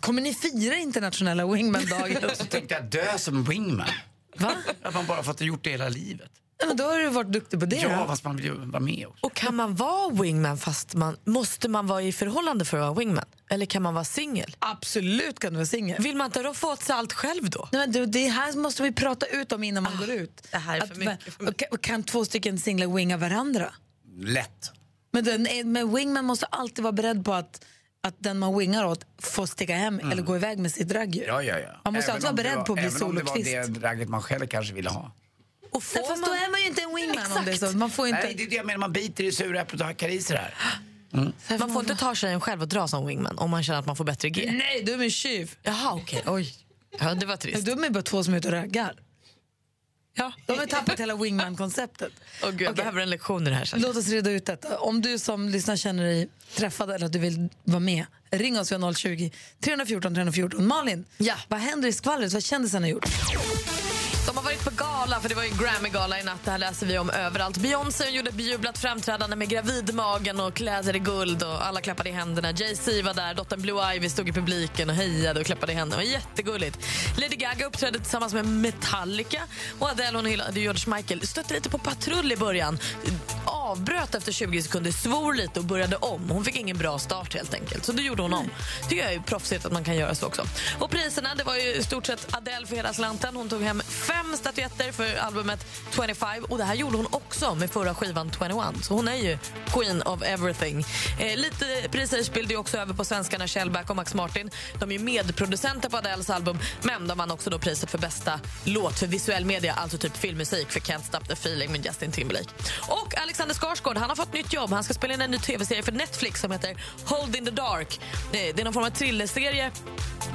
Speaker 5: Kommer ni fira internationella wingman-dagen?
Speaker 4: Så tänkte jag dö som wingman.
Speaker 5: Va?
Speaker 4: Att man bara fått gjort det hela livet.
Speaker 5: Ja, men då har du varit duktig på det.
Speaker 4: Ja,
Speaker 5: då.
Speaker 4: fast man vill ju vara med också.
Speaker 3: Och kan man vara wingman fast man måste man vara i förhållande för att vara wingman? Eller kan man vara singel?
Speaker 5: Absolut kan du vara singel.
Speaker 3: Vill man inte då få åt sig allt själv då?
Speaker 5: Nej, men du, det här måste vi prata ut om innan man går ut.
Speaker 3: Ah, det här är för mycket för mig.
Speaker 5: och kan, och kan två stycken singlar winga varandra?
Speaker 4: Lätt.
Speaker 5: Men, den, är- men wingman måste alltid vara beredd på att, att den man wingar åt får sticka hem
Speaker 3: Mm.
Speaker 5: eller gå iväg med sitt raggdjur.
Speaker 4: Ja, ja, ja.
Speaker 5: Man måste
Speaker 4: Även
Speaker 5: alltid vara
Speaker 4: om det
Speaker 5: beredd
Speaker 4: var-
Speaker 5: på att bli
Speaker 4: Även om det var
Speaker 5: solokvist.
Speaker 4: det ragget man själv kanske ville ha.
Speaker 3: Och får
Speaker 5: Nej, Fast då är man ju inte en wingman om det är så. Man får ju inte...
Speaker 4: Nej, det är det jag menar. Man biter i sura äpplet och hackar i sig det här.
Speaker 5: Sen
Speaker 3: Man får inte ta tjejen själv och dra som wingman om man känner att man får bättre G.
Speaker 5: Nej, du är med tjuv.
Speaker 3: Jaha, okej. Oj. Ja, det var
Speaker 5: Nej,
Speaker 3: trist.
Speaker 5: Du är med bara två som är ute och raggar.
Speaker 3: Ja.
Speaker 5: De har tappat hela wingman-konceptet.
Speaker 3: Åh, Gud, jag
Speaker 5: Okej.
Speaker 3: behöver en lektion i det här sen.
Speaker 5: Låt oss reda ut detta. Om du som lyssnar känner dig träffad eller att du vill vara med, ring oss vid 020 314 314. Malin,
Speaker 3: Ja.
Speaker 5: vad händer i skvallret? Vad kändisarna har gjort?
Speaker 3: De har varit på gala, för det var ju en Grammy-gala i natt. Det här läser vi om överallt. Beyoncé gjorde ett bejublat framträdande med gravidmagen och kläder i guld och alla klappade i händerna. Jay-Z var där, dottern Blue Ivy stod i publiken och hejade och klappade i händerna. Det var jättegulligt. Lady Gaga uppträdde tillsammans med Metallica och Adele hon hyllade George Michael. Stötte lite på patrull i början. Avbröt efter 20 sekunder, svor lite och började om. Hon fick ingen bra start helt enkelt, så det gjorde hon om. tycker jag är proffsigt att man kan göra så också. Och priserna, det var ju i stort sett Adele för hela slanten. Hon tog hem fem statyetter för albumet 25 och det här gjorde hon också med förra skivan 21. Så hon är ju queen of everything. Eh, lite prestigebild är också över på svenskarna Shellback och Max Martin. De är ju medproducenter på Adeles album men de vann också då priset för bästa låt för visuell media, alltså typ filmmusik för Can't Stop The Feeling med Justin Timberlake. Och Alexander Skarsgård, han har fått nytt jobb. Han ska spela in en ny tv-serie för Netflix som heter Hold In The Dark. Eh, Det är någon form av thrillerserie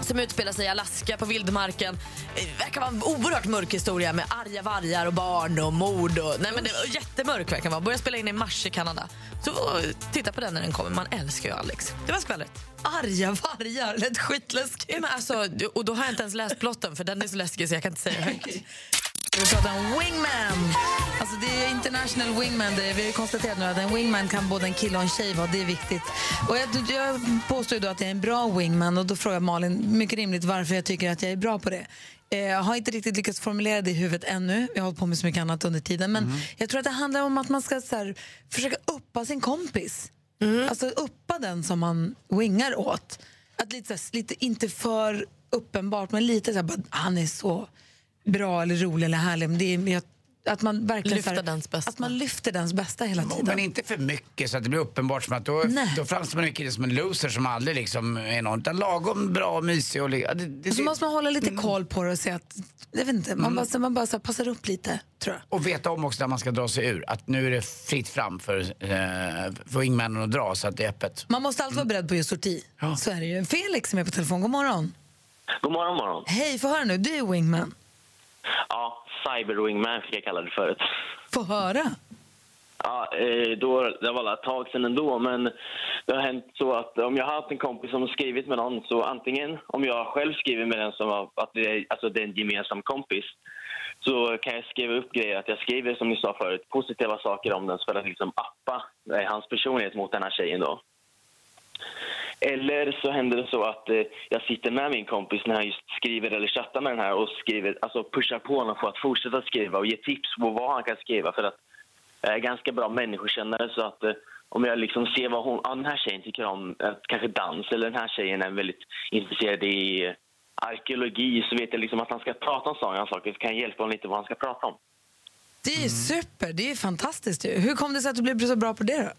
Speaker 3: som utspelar sig i Alaska på vildmarken. Eh, verkar vara en oerhört mörk historia med arga vargar och barn och mord. Och, nej men det är jättemörk verkar vara. Börjar spela in i mars i Kanada. Så eh, titta på den när den kommer. Man älskar ju Alex. Det var skvallret.
Speaker 5: Arga vargar, lät skitläskigt.
Speaker 3: Nej, men alltså, och då har jag inte ens läst plotten för den är så läskig så jag kan inte säga högt.
Speaker 5: Vi pratar om wingman. Alltså det är international wingman day. Vi har ju konstaterat nu att en wingman kan både en kille och en tjej vara. Det är viktigt. Och jag, jag påstår ju då att jag är en bra wingman och då frågar Malin mycket rimligt varför jag tycker att jag är bra på det. Eh, Jag har inte riktigt lyckats formulera det i huvudet ännu. Jag har hållit på med så mycket annat under tiden. Men jag tror att det handlar om att man ska så här, försöka uppa sin kompis. Alltså uppa den som man wingar åt. Att lite, så här, lite inte för uppenbart, men lite så här, bara, "Ah, han är så bra eller rolig eller härlig. Men det är, men jag, att man verkligen
Speaker 3: Lyfta
Speaker 5: så här,
Speaker 3: dens bästa.
Speaker 5: Att man lyfter dens bästa hela tiden.
Speaker 4: Men inte för mycket så att det blir uppenbart som att då,
Speaker 5: Ah, Nej.
Speaker 4: då framstår man ju killen som en loser som aldrig liksom är någon. Utan lagom bra och mysig och... li- ja, Det, det,
Speaker 5: Så måste man hålla lite koll på det och se att, jag vet inte, man bara, så- man bara så här, passar upp lite, tror jag.
Speaker 4: Och veta om också när man ska dra sig ur. Att nu är det fritt fram för, eh, för wingmannen att dra så att det är öppet.
Speaker 5: Man måste alltid vara beredd på just sorti.
Speaker 4: Ja.
Speaker 5: Så är det ju. Felix är med på telefon, god morgon.
Speaker 9: God morgon, morgon.
Speaker 5: Hej, få höra nu, du är wingman.
Speaker 9: Ja, cyberwingman fick jag kalla det förut.
Speaker 5: Få höra.
Speaker 9: Ja, eh, då, det var ett tag sedan ändå, men det har hänt så att om jag har haft en kompis som har skrivit med någon så antingen om jag själv skriver med den som har, att det är, alltså det är en gemensam kompis så kan jag skriva upp grejer, att jag skriver som ni sa förut, positiva saker om den för att liksom appa eh, hans personlighet mot den här tjejen då. Eller så händer det så att eh, jag sitter med min kompis när han just skriver eller chattar med den här och skriver, alltså pushar på honom för att fortsätta skriva och ge tips på vad han kan skriva för att jag är eh, ganska bra människokännare så att eh, om jag liksom ser vad hon, ah, den här tjejen tycker om, eh, kanske dans eller den här tjejen är väldigt intresserad i eh, arkeologi så vet jag liksom att han ska prata om sådana saker så kan jag hjälpa honom lite vad han ska prata om.
Speaker 5: Det är ju super, det är ju fantastiskt ju. Hur kom det sig att du blev så bra på det då?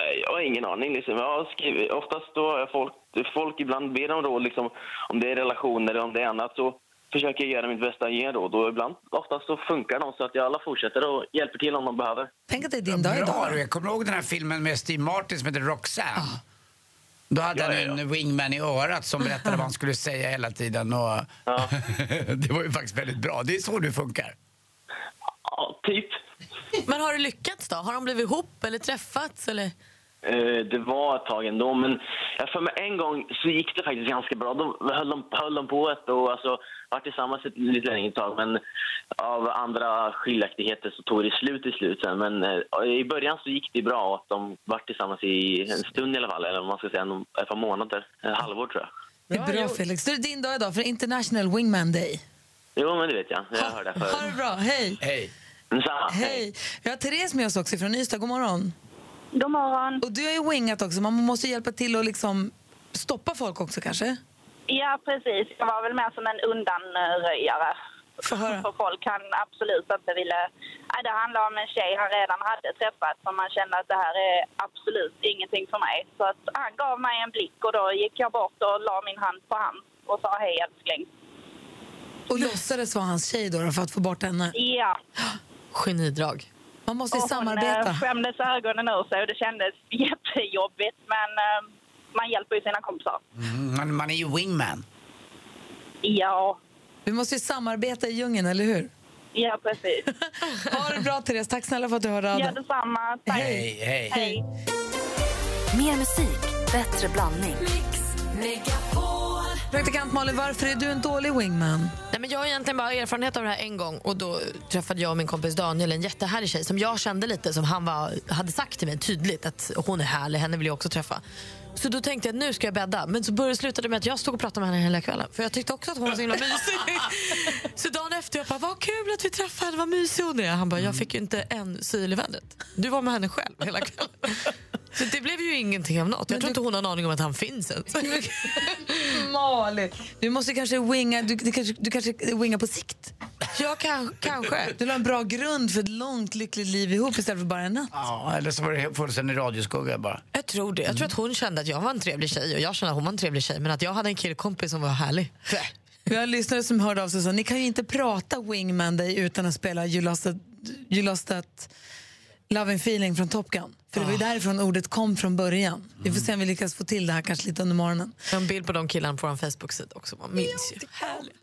Speaker 9: Nej, Jag har ingen aning. Liksom. Jag har skrivit, oftast då har jag folk, folk ibland ber om råd, liksom, om det är relationer eller om det är annat, så försöker jag göra mitt bästa att ge råd. Och ibland, oftast så funkar de så att jag alla fortsätter och hjälper till om de behöver.
Speaker 5: Tänk att det är din dag
Speaker 4: Bra
Speaker 5: idag.
Speaker 4: du är. Kommer du ihåg den här filmen med Steve Martin som heter Roxanne? Då hade
Speaker 9: Ja,
Speaker 4: han
Speaker 9: ja, ja.
Speaker 4: en wingman i örat som berättade vad han skulle säga hela tiden. Och
Speaker 9: Ja.
Speaker 4: det var ju faktiskt väldigt bra. Det är så du funkar.
Speaker 9: Ja, typ.
Speaker 3: Men har det lyckats då? Har de blivit ihop eller träffats? Eller?
Speaker 9: Eh, Det var ett tag ändå, men jag för mig en gång så gick det faktiskt ganska bra. Då höll de, höll de på ett och alltså, var tillsammans ett lite längre tag. Men av andra skiljaktigheter så tog det slut i slut sen. Men eh, i början så gick det bra att de var tillsammans i en stund i alla fall. Eller om man ska säga en- ett par månader, ett halvår tror jag.
Speaker 5: Det är bra Felix. Då är det din dag idag för International Wingman Day.
Speaker 9: Jo, men det vet jag. Jag hörde det
Speaker 5: Ha det
Speaker 9: förut.
Speaker 5: bra, hej.
Speaker 4: Hej.
Speaker 9: Men så här,
Speaker 5: Hej. Vi har Therese med oss också från Ystad, god morgon.
Speaker 11: God morgon.
Speaker 5: Och du har ju wingat också, man måste hjälpa till och liksom stoppa folk också kanske?
Speaker 11: Ja, precis. Jag var väl mer som en undanröjare.
Speaker 5: Få höra.
Speaker 11: För folk han absolut inte ville... Nej, det handlar om en tjej han redan hade träffat som man kände att det här är absolut ingenting för mig. Så att han gav mig en blick och då gick jag bort och la min hand på hans och sa hej älskling.
Speaker 5: Och låtsades vara hans tjej då, då för att få bort henne.
Speaker 11: Ja.
Speaker 3: Genidrag.
Speaker 5: Man måste ju
Speaker 11: Och Hon eh,
Speaker 5: samarbeta.
Speaker 11: skämdes ögonen ur sig och det kändes jättejobbigt men eh, man hjälper ju sina kompisar.
Speaker 4: Mm, man- man är ju wingman.
Speaker 11: Ja,
Speaker 5: Vi måste ju samarbeta i djungeln, eller hur?
Speaker 11: ja precis.
Speaker 5: Ha det bra Therese, tack snälla för att du hörde av
Speaker 11: Gör
Speaker 5: dig.
Speaker 11: detsamma. Tack.
Speaker 4: Hej, hej.
Speaker 11: Hej.
Speaker 12: Mer musik, bättre blandning.
Speaker 13: Mix Megapol.
Speaker 5: Praktikant Malin, varför är du en dålig wingman?
Speaker 3: Nej, men jag har egentligen bara erfarenhet av det här en gång och då träffade jag och min kompis Daniel en jättehärlig tjej som jag kände lite som han var, hade sagt till mig tydligt att hon är härlig, henne vill jag också träffa. Så då tänkte jag nu ska jag bädda. Men så började slutade det med att jag stod och pratade med henne hela kvällen. För jag tyckte också att hon var så himla mysig. så dagen efter jag bara, vad kul att vi träffade, vad mysig hon är. Han bara, jag fick ju inte en syl i vädret. Du var med henne själv hela kvällen. Så det blev ju ingenting av något. Jag tror inte hon har en aning om att han finns ens.
Speaker 5: Malin, du måste kanske winga, du, du, kanske, du kanske wingar på sikt.
Speaker 3: Jag kan, kanske.
Speaker 5: Du la en bra grund för ett långt lyckligt liv ihop istället för bara en natt.
Speaker 4: Ja, eller så var det fullständig radioskugga bara.
Speaker 3: Jag tror det. Jag tror att hon kände att jag var en trevlig tjej och jag kände att hon var en trevlig tjej men att jag hade en killkompis som var härlig.
Speaker 5: Vi har lyssnare som hörde av sig och sa, ni kan ju inte prata wingman dig utan att spela You lost that, you lost that loving feeling från Top Gun. För det var ju
Speaker 3: Ah.
Speaker 5: därifrån ordet kom från början. Vi får se om vi lyckas få till det här kanske lite under morgonen.
Speaker 3: Jag har en bild på de killarna på vår Facebook-sida också. Man minns ju. Härligt.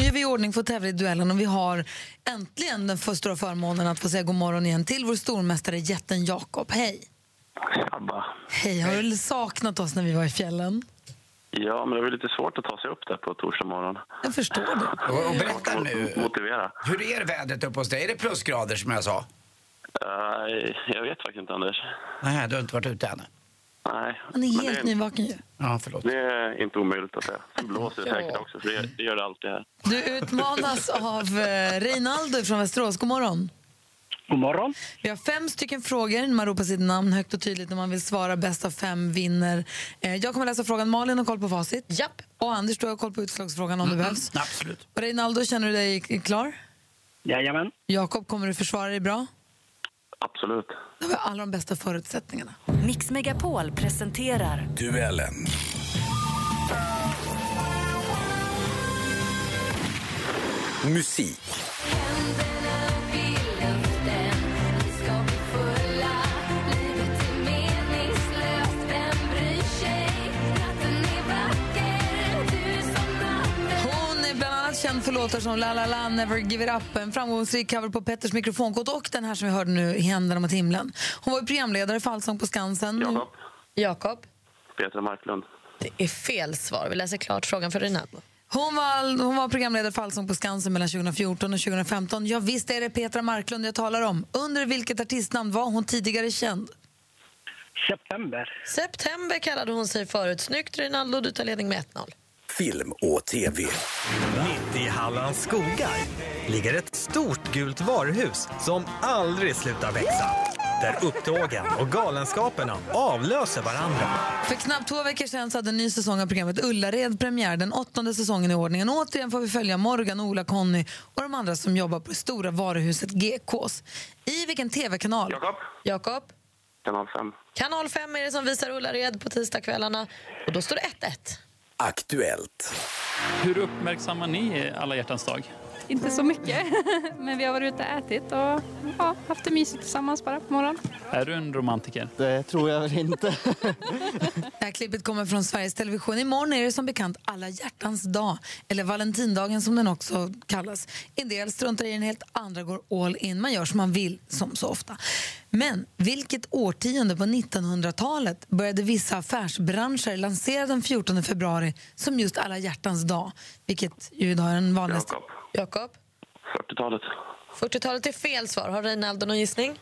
Speaker 5: Nu är vi i ordning för att tävla i duellen och vi har äntligen den för- stora förmånen att få säga god morgon igen till vår stormästare jätten Jakob. Hej!
Speaker 14: Abba.
Speaker 5: Hej, har du saknat oss när vi var i fjällen?
Speaker 14: Ja, men det var lite svårt att ta sig upp där på torsdag morgon.
Speaker 5: Jag förstår det.
Speaker 4: Och, och berätta nu,
Speaker 14: Mot- Motivera.
Speaker 4: hur är vädret uppe hos dig? Är det plusgrader som jag sa?
Speaker 14: Eh, jag vet faktiskt inte, Anders.
Speaker 4: Nej, du har inte varit ute ännu.
Speaker 14: Nej.
Speaker 5: Han är
Speaker 14: Men
Speaker 5: helt
Speaker 14: det, är,
Speaker 5: nyvaken ju.
Speaker 4: Ja, förlåt.
Speaker 14: det är inte omöjligt att det är. Sen blåser det säkert också, för det, det gör det alltid här.
Speaker 5: Du utmanas av eh, Reinaldo från Västerås. God morgon.
Speaker 9: God morgon.
Speaker 5: Vi har fem stycken frågor. Man ropar sitt namn högt och tydligt när man vill svara. Bäst av fem vinner. Eh, jag kommer läsa frågan. Malin har koll på facit.
Speaker 3: Japp.
Speaker 5: Och Anders, du har koll på utslagsfrågan om det behövs.
Speaker 4: Absolut.
Speaker 5: Och Reinaldo, känner du dig klar?
Speaker 9: Jajamän.
Speaker 5: Jakob, kommer du försvara dig bra?
Speaker 14: Absolut.
Speaker 5: Då har vi alla de bästa förutsättningarna.
Speaker 1: Mix Megapol presenterar
Speaker 15: Duellen. Musik.
Speaker 5: Hon är bland annat känd för låtar som La La La, Never Give It Up, en framgångsrik cover på Petters mikrofonkort och den här som vi hörde nu, I händerna mot himlen. Hon var ju programledare för Allsång på Skansen.
Speaker 14: Jakob.
Speaker 3: Jakob,
Speaker 14: Petra Marklund.
Speaker 3: det är fel svar. Vi läser klart frågan för Rinaldo.
Speaker 5: Hon var, hon var programledare för Allsång på Skansen mellan 2014 och 2015. Ja, visst är det Petra Marklund jag talar om. Under vilket artistnamn var hon tidigare känd?
Speaker 9: September.
Speaker 3: September kallade hon sig förut. Snyggt Rinaldo, du tar ledning med 1-0.
Speaker 15: Film och TV. Mitt i Hallands skogar ligger ett stort gult varuhus som aldrig slutar växa. Där upptågen och galenskaperna avlöser varandra.
Speaker 5: För knappt två veckor sedan så hade en ny säsong av programmet Ullared premiär, den åttonde säsongen i ordningen. Och återigen får vi följa Morgan, Ola, Conny och de andra som jobbar på det stora varuhuset GKs. I vilken tv-kanal?
Speaker 14: Jakob.
Speaker 3: Jakob,
Speaker 14: Kanal 5.
Speaker 3: kanal 5 är det som visar Ullared på tisdagskvällarna. Och då står det 1-1.
Speaker 15: Aktuellt.
Speaker 16: Hur uppmärksammar ni alla hjärtans dag?
Speaker 17: Inte så mycket, men vi har varit ute och ätit och ja, haft det mysigt tillsammans bara på morgonen.
Speaker 16: Är du en romantiker?
Speaker 18: Det tror jag väl inte.
Speaker 5: Det här klippet kommer från Sveriges Television. Imorgon är det som bekant alla hjärtans dag, eller valentindagen som den också kallas. En del struntar i den helt, andra går all in. Man gör som man vill, som så ofta. Men vilket årtionde på 1900-talet började vissa affärsbranscher lansera den 14 februari som just alla hjärtans dag? Vilket ju idag är den vanligaste.
Speaker 3: Jakob,
Speaker 14: 40-talet.
Speaker 3: 40-talet är fel svar. Har Rinaldo någon gissning?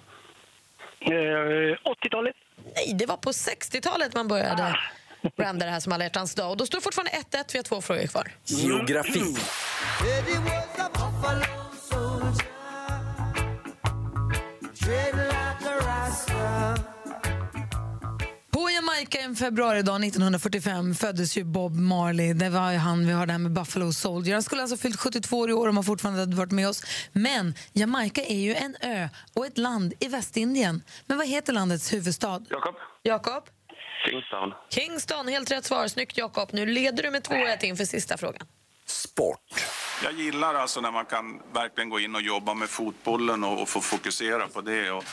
Speaker 9: 80-talet.
Speaker 3: Nej, det var på 60-talet man började branda det här som alla hjärtans dag. Och då står det fortfarande 1-1. Vi har två frågor kvar.
Speaker 15: Geografi.
Speaker 5: På Jamaica en februaridag 1945 föddes ju Bob Marley. Det var ju han vi hörde här med Buffalo Soldier. Han skulle alltså ha fyllt 72 år i år om han fortfarande hade varit med oss. Men Jamaica är ju en ö och ett land i Västindien. Men vad heter landets huvudstad?
Speaker 14: Jakob.
Speaker 3: Jakob?
Speaker 14: Kingstown.
Speaker 3: Kingston, helt rätt svar. Snyggt Jakob. Nu leder du med 2-1 inför sista frågan.
Speaker 15: Sport.
Speaker 19: Jag gillar alltså när man kan verkligen gå in och jobba med fotbollen och, och få fokusera på det. Och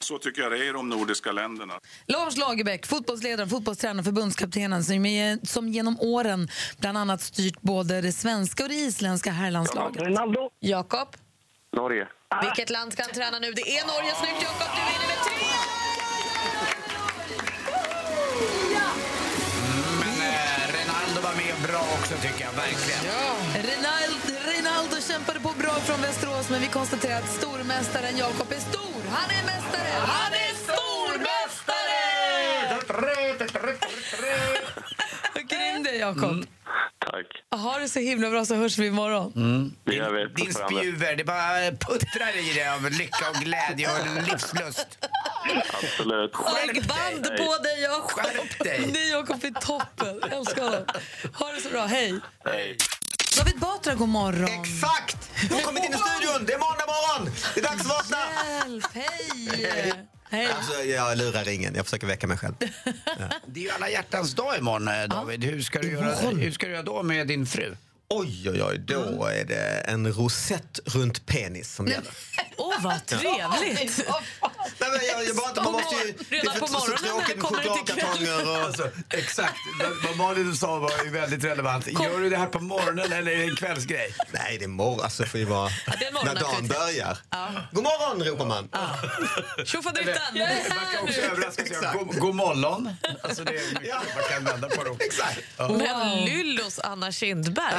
Speaker 19: så tycker jag det är i de nordiska länderna.
Speaker 5: Lars Lagerbäck, fotbollsledaren, fotbollstränaren, förbundskaptenen som, är, som genom åren bland annat styrt både det svenska och det isländska herrlandslaget.
Speaker 9: Ronaldo.
Speaker 3: Jakob?
Speaker 14: Norge.
Speaker 3: Vilket land ska han träna nu? Det är Norge. Snyggt Jakob, du vinner med 3
Speaker 4: Men eh, Renaldo var med bra också tycker jag, verkligen.
Speaker 5: Rinald- Rinaldo kämpade på bra från Västerås, men vi konstaterar att stormästaren Jakob är stor. Han är mästare! Han är stormästare! Vad grym du är, Jakob.
Speaker 14: Tack.
Speaker 5: Ha det så himla bra, så hörs vi imorgon.
Speaker 14: Det gör vi.
Speaker 4: Din
Speaker 14: Puss och kram.
Speaker 4: spjuver, det bara puttrar i dig av lycka och glädje och livslust.
Speaker 14: Absolut.
Speaker 5: Och band på dig, Jakob.
Speaker 4: Skärp dig.
Speaker 5: Nej, Jakob är toppen. Jag älskar honom. Ha det så bra. Hej!
Speaker 14: Hej.
Speaker 5: David Batra, god morgon. Exakt!
Speaker 18: Du har kommit in i studion. Det är måndag morgon. Det är dags att vakna.
Speaker 5: Hjälp, hej! Hej.
Speaker 18: Alltså, jag lurar ingen. Jag försöker väcka mig själv.
Speaker 4: Det är ju alla hjärtans dag imorgon, eh, David. Hur, ska du göra, hur ska du göra då med din fru?
Speaker 18: Oj, oj, oj. Då är det en rosett runt penis som gäller.
Speaker 3: Åh, vad trevligt!
Speaker 18: Nej, men jag, jag bara, inte- man måste ju, det är
Speaker 3: Redan
Speaker 18: för-
Speaker 3: på
Speaker 18: så
Speaker 3: morgonen när
Speaker 18: tråkigt
Speaker 3: det
Speaker 18: med
Speaker 3: kommer det till
Speaker 18: chokladkartonger och så.
Speaker 4: Alltså, Exakt. Vad Malin sa var ju väldigt relevant. Gör du det här på morgonen eller är det en kvällsgrej?
Speaker 18: Nej, det är morgon. Alltså, det får ju vara
Speaker 3: det är en
Speaker 18: när dagen
Speaker 3: morgonaktivitet.
Speaker 18: börjar.
Speaker 3: Ja.
Speaker 18: God morgon, ropar man.
Speaker 3: Tjofaderittan!
Speaker 4: Man kan också överraska sig.
Speaker 18: Exakt.
Speaker 4: God, god morgon. Alltså det är mycket man kan vända på det också.
Speaker 18: Exakt.
Speaker 3: Men Lyllos Anna Kindberg.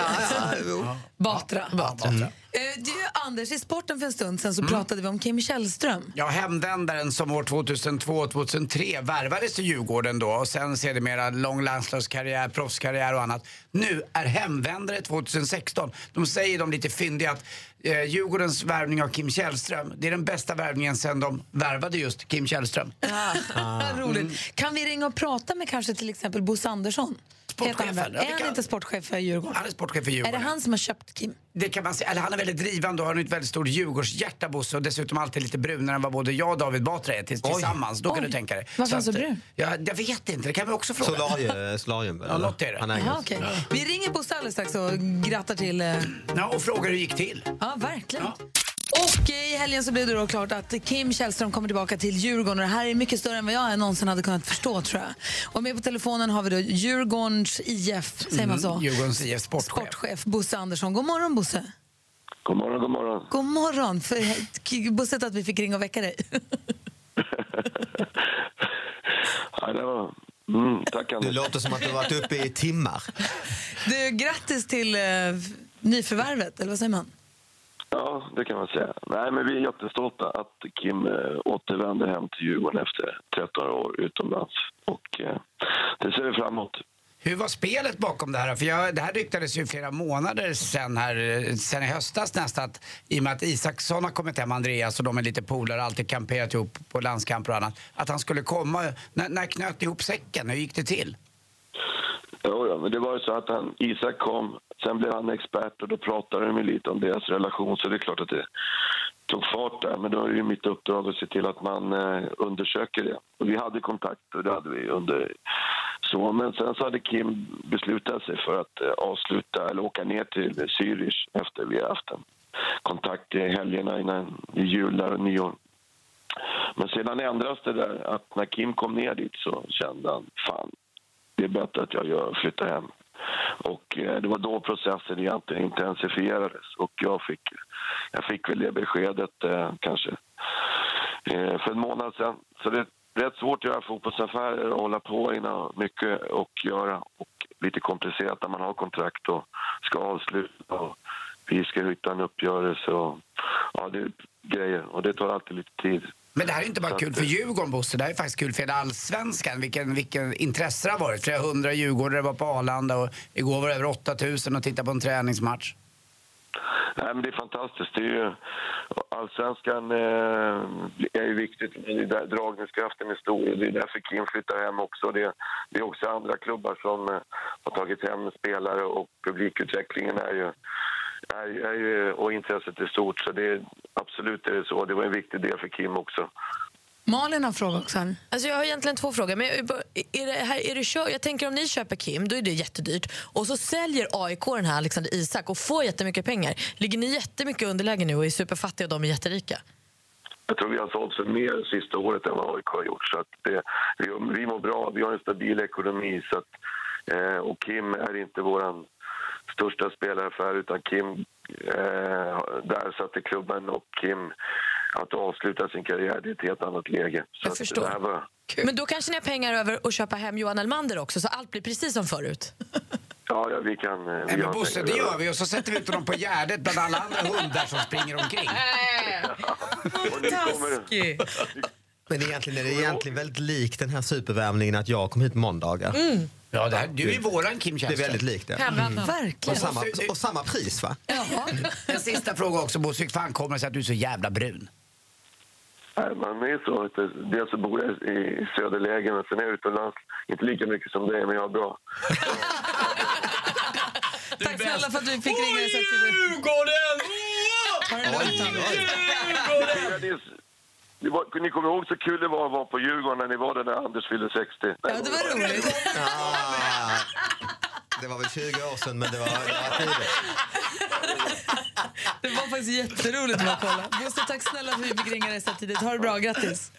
Speaker 5: Batra.
Speaker 4: Batra.
Speaker 5: Eh, Du, Anders, i sporten för en stund sen så
Speaker 18: Mm.
Speaker 5: pratade vi om Kim Källström.
Speaker 4: Ja, hemvändaren som år 2002-2003 värvades till Djurgården då och sen sedermera lång landslagskarriär, proffskarriär och annat. Nu är hemvändare 2016. De säger de lite fyndiga att eh, Djurgårdens värvning av Kim Källström, det är den bästa värvningen sen de värvade just Kim Källström.
Speaker 18: Ah.
Speaker 5: Roligt.
Speaker 18: Mm.
Speaker 5: Kan vi ringa och prata med kanske till exempel Bosse Andersson? Heter han väl?
Speaker 4: Sportchefen, ja, det
Speaker 5: Är
Speaker 4: kan-
Speaker 5: han inte sportchef för Djurgården?
Speaker 4: Han är sportchef för
Speaker 5: Är
Speaker 4: Djurgården.
Speaker 5: det han som har köpt Kim?
Speaker 4: Det kan man säga. Eller han är väldigt drivande och har ett väldigt stort Djurgårdshjärta Bosse och dessutom alltid lite brunare än vad både jag och David Batra är tills- tillsammans. Då kan du tänka dig.
Speaker 5: Varför är han så
Speaker 4: att, eh,
Speaker 5: brun?
Speaker 4: Ja, jag vet inte, det kan vi också fråga.
Speaker 18: Solarium, eh, solarium väl?
Speaker 4: Ja, något är det.
Speaker 18: Han
Speaker 5: Jaha,
Speaker 18: äger.
Speaker 5: okej. Vi ringer Bosse alldeles strax och grattar till... eh,
Speaker 4: Ja, och frågar hur det gick till.
Speaker 5: Ja, verkligen. Och eh, i helgen så blev det då klart att Kim Källström kommer tillbaka till Djurgården. Och det här är mycket större än vad jag någonsin hade kunnat förstå tror jag. Och med på telefonen har vi då Djurgårdens IF, säger man så?
Speaker 4: Mm, Djurgårdens IF sportchef.
Speaker 5: Sportchef Bosse Andersson. God morgon Bosse.
Speaker 14: God morgon, god morgon.
Speaker 5: God morgon. För, k- Bosse att vi fick ringa och väcka dig.
Speaker 14: Ja, det var... mm, tack,
Speaker 18: Du
Speaker 14: Anders.
Speaker 18: låter som att du har varit uppe i timmar.
Speaker 5: Du, grattis till eh, nyförvärvet, eller vad säger man?
Speaker 14: Ja, det kan man säga. Nej, men vi är jättestolta att Kim eh, återvänder hem till Djurgården efter 13 år utomlands. Och eh, det ser vi fram emot.
Speaker 4: Hur var spelet bakom det här? För jag, det här ryktades ju flera månader sen, här, eh, sen i höstas nästan. Att, I och med att Isaksson har kommit hem, Andreas och de är lite polare, alltid kamperat ihop på landskamper och annat. Att han skulle komma. När, när knöt ni ihop säcken? Hur gick det till?
Speaker 14: Jo, ja, men det var ju så att han, Isak kom, sen blev han expert och då pratade de ju lite om deras relation så det är klart att det tog fart där. Men då är det ju mitt uppdrag att se till att man eh, undersöker det. Och vi hade kontakt och det hade vi under så. Men sen så hade Kim beslutat sig för att eh, avsluta eller åka ner till Zürich efter vi har haft en kontakt i helgerna innan i jul där och nyår. Men sedan ändras det där att när Kim kom ner dit så kände han fan, det är bättre att jag gör, flyttar hem. Och eh, det var då processen egentligen intensifierades och jag fick, jag fick väl det beskedet eh, kanske eh, för en månad sedan. Så det är rätt svårt att göra fotbollsaffärer och hålla på innan mycket och göra och lite komplicerat när man har kontrakt och ska avsluta och vi ska hitta en uppgörelse och ja, det är grejer och det tar alltid lite tid.
Speaker 4: Men det här är inte bara kul för Djurgården, Bosse. Det här är faktiskt kul för hela allsvenskan. Vilken, vilken intresse det har varit. Flera hundra djurgårdare var på Arlanda och igår var det över 8000 och tittade på en träningsmatch.
Speaker 14: Nej, men det är fantastiskt. Det är ju, allsvenskan eh, är ju viktigt. Det är där dragningskraften är stor. Det är därför Kim flyttar hem också. Det, det är också andra klubbar som eh, har tagit hem spelare och publikutvecklingen är ju, är, ju- är ju, och intresset är stort. Så det är, absolut är det så. Det var en viktig del för Kim också.
Speaker 5: Malin har en fråga också. här.
Speaker 3: Alltså jag har egentligen två frågor. Men jag- är det här, är det kö- jag tänker om ni köper Kim, då är det jättedyrt. Och så säljer AIK den här Alexander Isak och får jättemycket pengar. Ligger ni jättemycket i underläge nu och är superfattiga och de är jätterika?
Speaker 14: Jag tror vi har sålt för mer sista året än vad AIK har gjort. Så att det, vi, vi mår bra, vi har en stabil ekonomi. Så att, eh, och Kim är inte vår största spelaraffär utan Kim, eh, där satte klubben och Kim att avsluta sin karriär, det är ett helt annat läge. Så
Speaker 3: Jag
Speaker 14: att
Speaker 3: förstår.
Speaker 14: Det här var,
Speaker 3: Men då kanske ni har pengar över att köpa hem Johan Elmander också så allt blir precis som förut.
Speaker 20: Ja, ja, vi
Speaker 14: eh,
Speaker 20: kan... Vi
Speaker 4: Nej, men Bosse, det gör
Speaker 20: vi.
Speaker 4: vi. Och så sätter vi ut dem på Gärdet bland alla andra hundar som springer omkring.
Speaker 3: Taskig!
Speaker 18: Men egentligen är det egentligen väldigt likt den här supervärmningen att jag kom hit måndagar.
Speaker 4: Mm. Ja, det här, du är ju våran Kim
Speaker 18: Det är
Speaker 4: Källström.
Speaker 18: väldigt likt det.
Speaker 4: Hemma. Verkligen.
Speaker 18: Och samma, och samma pris va?
Speaker 4: En sista fråga också, Bosse. Hur fan kommer det sig att du är så jävla brun?
Speaker 20: Nej, man är ju så. Att det, dels så bor jag i söderlägen och sen är jag utomlands. Inte lika mycket som dig, men jag är bra.
Speaker 5: Tack snälla för att du fick ringa. Djurgården! Ha det lugnt, Anders.
Speaker 20: Det var, ni kommer ihåg så kul det var att vara på Djurgården när ni var där när Anders fyllde 60? Ja,
Speaker 5: det var roligt.
Speaker 18: Ah, det var väl 20 år sedan men det var, det var tidigt.
Speaker 5: Det var faktiskt jätteroligt att vara kolla. Bosse, tack snälla för att vi fick ringa dig så här tidigt. Ha det bra, grattis.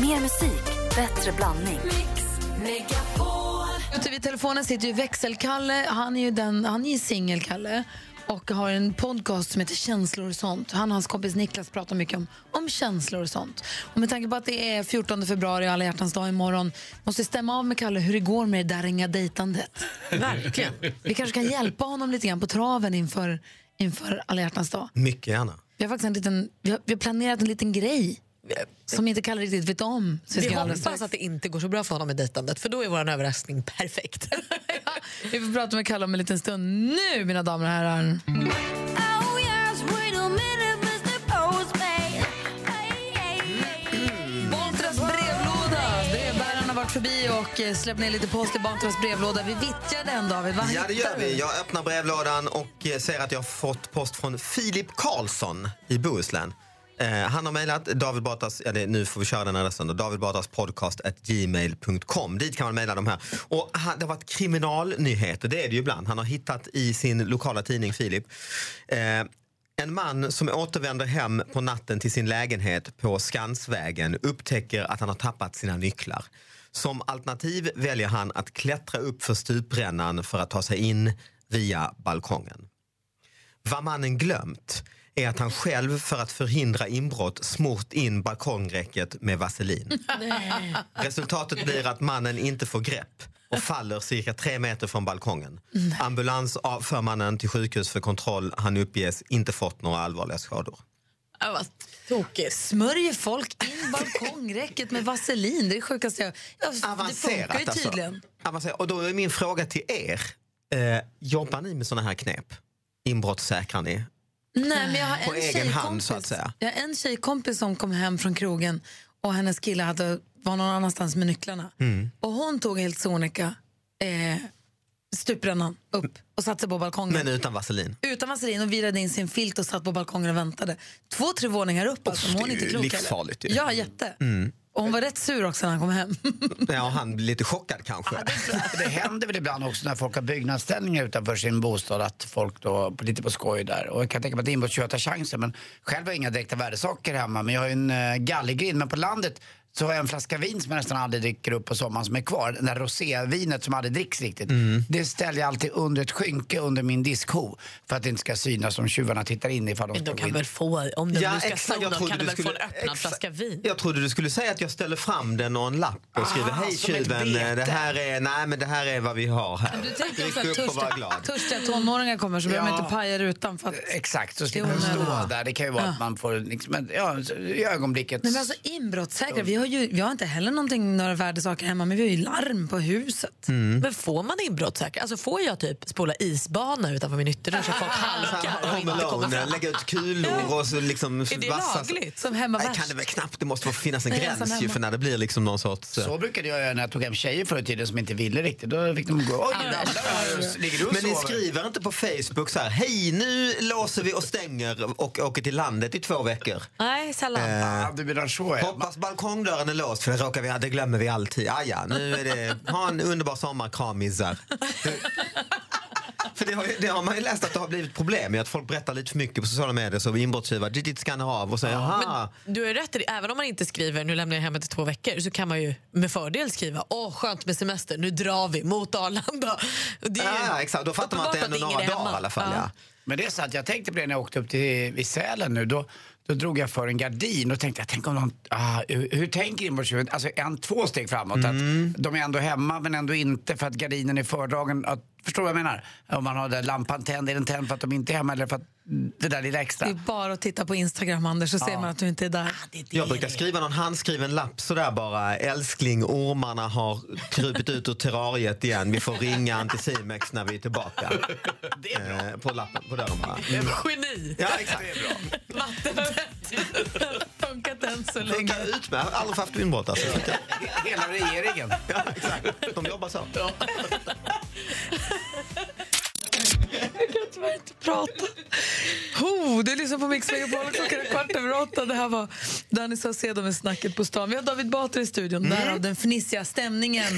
Speaker 1: Mer musik, bättre blandning.
Speaker 5: Ute vid telefonen sitter ju växelkalle. Han är ju, den- han är ju singelkalle och har en podcast som heter Känslor och sånt. Han och hans kompis Niklas pratar mycket om, om känslor och sånt. Och med tanke på att det är 14 februari och alla hjärtans dag imorgon måste vi stämma av med Kalle hur det går med det där ringa dejtandet. Verkligen. Vi kanske kan hjälpa honom lite grann på traven inför, inför alla hjärtans dag.
Speaker 18: Mycket gärna.
Speaker 5: Vi har faktiskt en liten, vi har, vi har planerat en liten grej som inte Kalle riktigt vet om. Så
Speaker 21: Vi
Speaker 5: ska alldeles
Speaker 21: hoppas att det inte går så bra för honom med dejtandet för då är vår överraskning perfekt.
Speaker 5: Vi får prata med Kalle om en liten stund. Nu, mina damer och herrar. Bartras brevlåda. Brevbäraren har varit förbi och eh, släppt ner lite post i Bartras brevlåda. Vi vittjar den, David. Vad
Speaker 18: Ja, det gör
Speaker 5: hittar du?
Speaker 18: vi. Jag öppnar brevlådan och eh, ser att jag har fått post från Filip Karlsson i Bohuslän. Eh, han har mejlat David Batras, ja, det, nu får vi köra den adressen då, David Batras podcast at gmail.com. Dit kan man mejla de här. Och han, det har varit kriminalnyheter, det är det ju ibland. Han har hittat i sin lokala tidning Filip eh, en man som återvänder hem på natten till sin lägenhet på Skansvägen upptäcker att han har tappat sina nycklar. Som alternativ väljer han att klättra upp för stuprännan för att ta sig in via balkongen. Vad mannen glömt är att han själv för att förhindra inbrott smort in balkongräcket med vaselin. Resultatet blir att mannen inte får grepp och faller cirka tre meter från balkongen. Ambulans av- för mannen till sjukhus för kontroll. Han uppges inte fått några allvarliga skador.
Speaker 5: Ja, vad tokigt. Smörjer folk in balkongräcket med vaselin? Det är det sjukaste jag... Ja, det funkar ju
Speaker 18: alltså.
Speaker 5: tydligen.
Speaker 18: Avancerat. Och då är min fråga till er. Eh, jobbar ni med såna här knep? Inbrottssäkrar ni?
Speaker 5: Nej, men jag har
Speaker 18: På
Speaker 5: en
Speaker 18: egen hand
Speaker 5: tjejkompis.
Speaker 18: så att säga.
Speaker 5: Jag har en tjejkompis som kom hem från krogen och hennes kille hade, var någon annanstans med nycklarna.
Speaker 18: Mm.
Speaker 5: Och hon tog helt sonika eh, stuprännan upp och satte sig på balkongen.
Speaker 18: Men utan vaselin?
Speaker 5: Utan vaselin och virade in sin filt och satt på balkongen och väntade. Två, tre våningar upp alltså. men hon är
Speaker 18: det är
Speaker 5: inte
Speaker 18: ju
Speaker 5: klok
Speaker 18: livsfarligt
Speaker 5: heller.
Speaker 18: ju.
Speaker 5: Ja, jätte.
Speaker 18: Mm.
Speaker 5: Och hon var rätt sur också när han kom hem.
Speaker 18: Ja, och han blir lite chockad kanske.
Speaker 4: Alltså, Det händer väl ibland också när folk har byggnadsställningar utanför sin bostad att folk då, på- lite på skoj där. Och jag kan tänka mig att inbrottstjuvar tar chansen. Men själv har jag inga direkta värdesaker hemma. Men jag har ju en uh, gallergrind. Men på landet så har jag en flaska vin som jag nästan aldrig dricker upp på sommaren som är kvar. Det där rosévinet som aldrig dricks riktigt.
Speaker 18: Mm.
Speaker 4: Det ställer jag alltid under ett skynke under min diskho. För att det inte ska synas om tjuvarna tittar in ifall de
Speaker 3: Men
Speaker 4: ska
Speaker 3: de
Speaker 4: gå
Speaker 3: kan
Speaker 4: in.
Speaker 3: väl få, om de
Speaker 18: Ja,
Speaker 3: nu ska
Speaker 18: exakt.
Speaker 3: sno
Speaker 18: Jag
Speaker 3: dem
Speaker 18: trodde
Speaker 3: kan de
Speaker 18: du
Speaker 3: väl få en
Speaker 18: skulle-
Speaker 3: öppnad
Speaker 18: exakt.
Speaker 3: flaska vin?
Speaker 18: Jag trodde du skulle säga att jag ställer fram den och en lapp och skriver
Speaker 3: Ah,
Speaker 18: hej
Speaker 3: som ett
Speaker 18: tjuven, eh,
Speaker 3: bete."
Speaker 18: det här, är, nej, men det här är vad vi har här.
Speaker 5: Du tänker också
Speaker 18: Ryck
Speaker 5: att
Speaker 18: upp och var
Speaker 5: törstiga,
Speaker 18: glad.
Speaker 5: törstiga tonåringar kommer så behöver
Speaker 4: Ja.
Speaker 5: man inte paja rutan för att...
Speaker 4: Eh, Exakt, så
Speaker 5: Det är
Speaker 4: slipper de stå
Speaker 5: onödigt.
Speaker 4: där. Det kan ju vara att man får liksom, en- ja, i ögonblicket...
Speaker 5: Nej, men alltså inbrottssäkra, vi har ju vi har inte heller någonting, några värdesaker hemma men vi har ju larm på huset.
Speaker 18: Mm.
Speaker 21: Men får man inbrottssäkra? Alltså får jag typ spola isbana utanför min ytterdörr så folk halkar och
Speaker 18: Home
Speaker 21: inte kommer
Speaker 18: alone,
Speaker 21: fram?
Speaker 18: lägga ut kulor och så liksom
Speaker 21: Är det
Speaker 18: vassa-
Speaker 21: lagligt?
Speaker 5: Som hemma
Speaker 18: Nej, kan det väl knappt. Det måste få finnas en
Speaker 4: Nej, som
Speaker 18: gräns ju
Speaker 4: hemma.
Speaker 18: för när det blir liksom någon sorts... eh,
Speaker 4: Så brukade jag göra när jag tog hem tjejer förr i tiden som inte ville riktigt. Då fick de gå. Oj, där ligger du och
Speaker 18: Men ni
Speaker 4: sover.
Speaker 18: skriver inte på Facebook så här, hej nu låser vi och stänger och åker till landet i två veckor.
Speaker 21: Nej, sällan.
Speaker 18: Eh,
Speaker 4: du menar så ja.
Speaker 18: Hoppas balkongdörren är låst för det råkar vi, ja, det glömmer vi alltid. Ah, ja, nu är det, ha en underbar sommar kramissar. För det har, ju- det har man ju läst att det har blivit problem med att folk berättar lite för mycket på sociala medier så inbrottstjuvar, dit dit ska ni av och så jaha.
Speaker 21: Men du har ju rätt i det. Även om man inte skriver nu lämnar jag hemmet i två veckor så kan man ju med fördel skriva åh skönt med semester, nu drar vi mot Arlanda. Och Det är ju
Speaker 18: Ja, Ah, exakt. Då fattar man att det är
Speaker 21: uppenbart
Speaker 18: ändå
Speaker 21: ingen
Speaker 18: några
Speaker 21: är
Speaker 18: dagar
Speaker 21: hemma.
Speaker 18: i alla fall. Ja.
Speaker 4: Men det är sant, jag tänkte på det när jag åkte upp till i Sälen nu. Då, Då drog jag för en gardin och tänkte, jag tänk om någon, ah, hur, hur tänker inbrottstjuven? Alltså en, två steg framåt.
Speaker 8: Mm.
Speaker 4: Att de är ändå hemma men ändå inte för att gardinen är fördragen. Att, förstår du vad jag menar? Om man har där lampan tänd, är den tänd för att de inte är hemma eller för att det där lilla extra?
Speaker 5: Det är bara att titta på Instagram, Anders, så ser
Speaker 4: Ja.
Speaker 5: man att du inte Ah, är där.
Speaker 18: Jag brukar skriva någon handskriven lapp sådär bara. Älskling, ormarna har krupit ut ur terrariet igen. Vi får ringa Anticimex när vi är tillbaka. Eh, på lappen, på dörren bara.
Speaker 21: Geni!
Speaker 18: Ja, exakt.
Speaker 5: Funkat än så länge.
Speaker 18: Funkar utmärkt. Jag har aldrig haft inbrott alltså.
Speaker 4: Hela regeringen.
Speaker 18: Ja, exakt. De jobbar så.
Speaker 5: Jag kan tyvärr inte prata. Ho, du lyssnar på Mix Megapol klockan är kvart över åtta. Det här var Danny Saucedo med Snacket på stan. Vi har David Batra i studion, därav den fnissiga stämningen.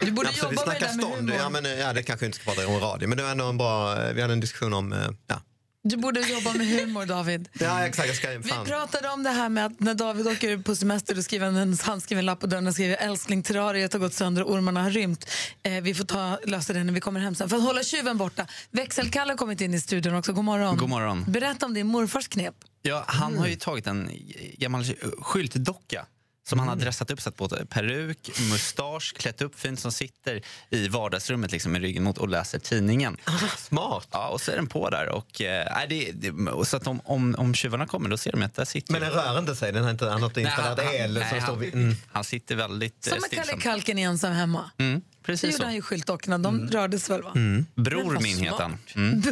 Speaker 5: Du borde
Speaker 18: Mm. Absolut,
Speaker 5: jobba
Speaker 18: vi
Speaker 5: med det
Speaker 18: snackar
Speaker 5: där med
Speaker 18: stånd.
Speaker 5: humor.
Speaker 18: Ja, men, eh, ja, det kanske vi inte ska prata om i radio, men det var ändå en bra... eh, Vi hade en diskussion om... eh, Ja,
Speaker 5: Du borde jobba med humor, David.
Speaker 18: ja exakt. Jag ska
Speaker 5: Vi
Speaker 18: fan.
Speaker 5: pratade om det här med att när David åker på semester då skriver han en handskriven lapp på dörren och skriver älskling terrariet har gått sönder och ormarna har rymt. Eh, vi får ta, lösa det när vi kommer hem sen. För att hålla tjuven borta. Växelkalle har kommit in i studion också. God morgon.
Speaker 8: God morgon.
Speaker 5: Berätta om din morfars knep.
Speaker 8: Ja, han har
Speaker 18: Mm.
Speaker 8: ju tagit en gammal skyltdocka som han
Speaker 18: Mm.
Speaker 8: har dressat upp, satt på peruk, mustasch, klätt upp fint som sitter i vardagsrummet liksom, med ryggen mot och läser tidningen.
Speaker 18: Ah, smart!
Speaker 8: Ja, och så är den på där. Och, eh, nej, det, det, och så att om, om, om tjuvarna kommer då ser de att där sitter
Speaker 18: Men den rör inte sig? Den har inte, han har inte
Speaker 8: Nej,
Speaker 18: installerat
Speaker 8: han-
Speaker 18: el?
Speaker 8: nej,
Speaker 18: som
Speaker 8: han-
Speaker 18: står vid, mm.
Speaker 8: Han sitter väldigt eh,
Speaker 5: Som med Kalle
Speaker 8: stillsamt.
Speaker 5: Kalken i ensam hemma.
Speaker 8: Mm,
Speaker 5: det
Speaker 8: precis
Speaker 5: gjorde han
Speaker 8: så.
Speaker 5: ju skyltdockorna. De rördes väl va?
Speaker 8: Mm.
Speaker 5: Men
Speaker 8: Bror
Speaker 5: vad
Speaker 8: min
Speaker 5: smart.
Speaker 8: heter han. Mm.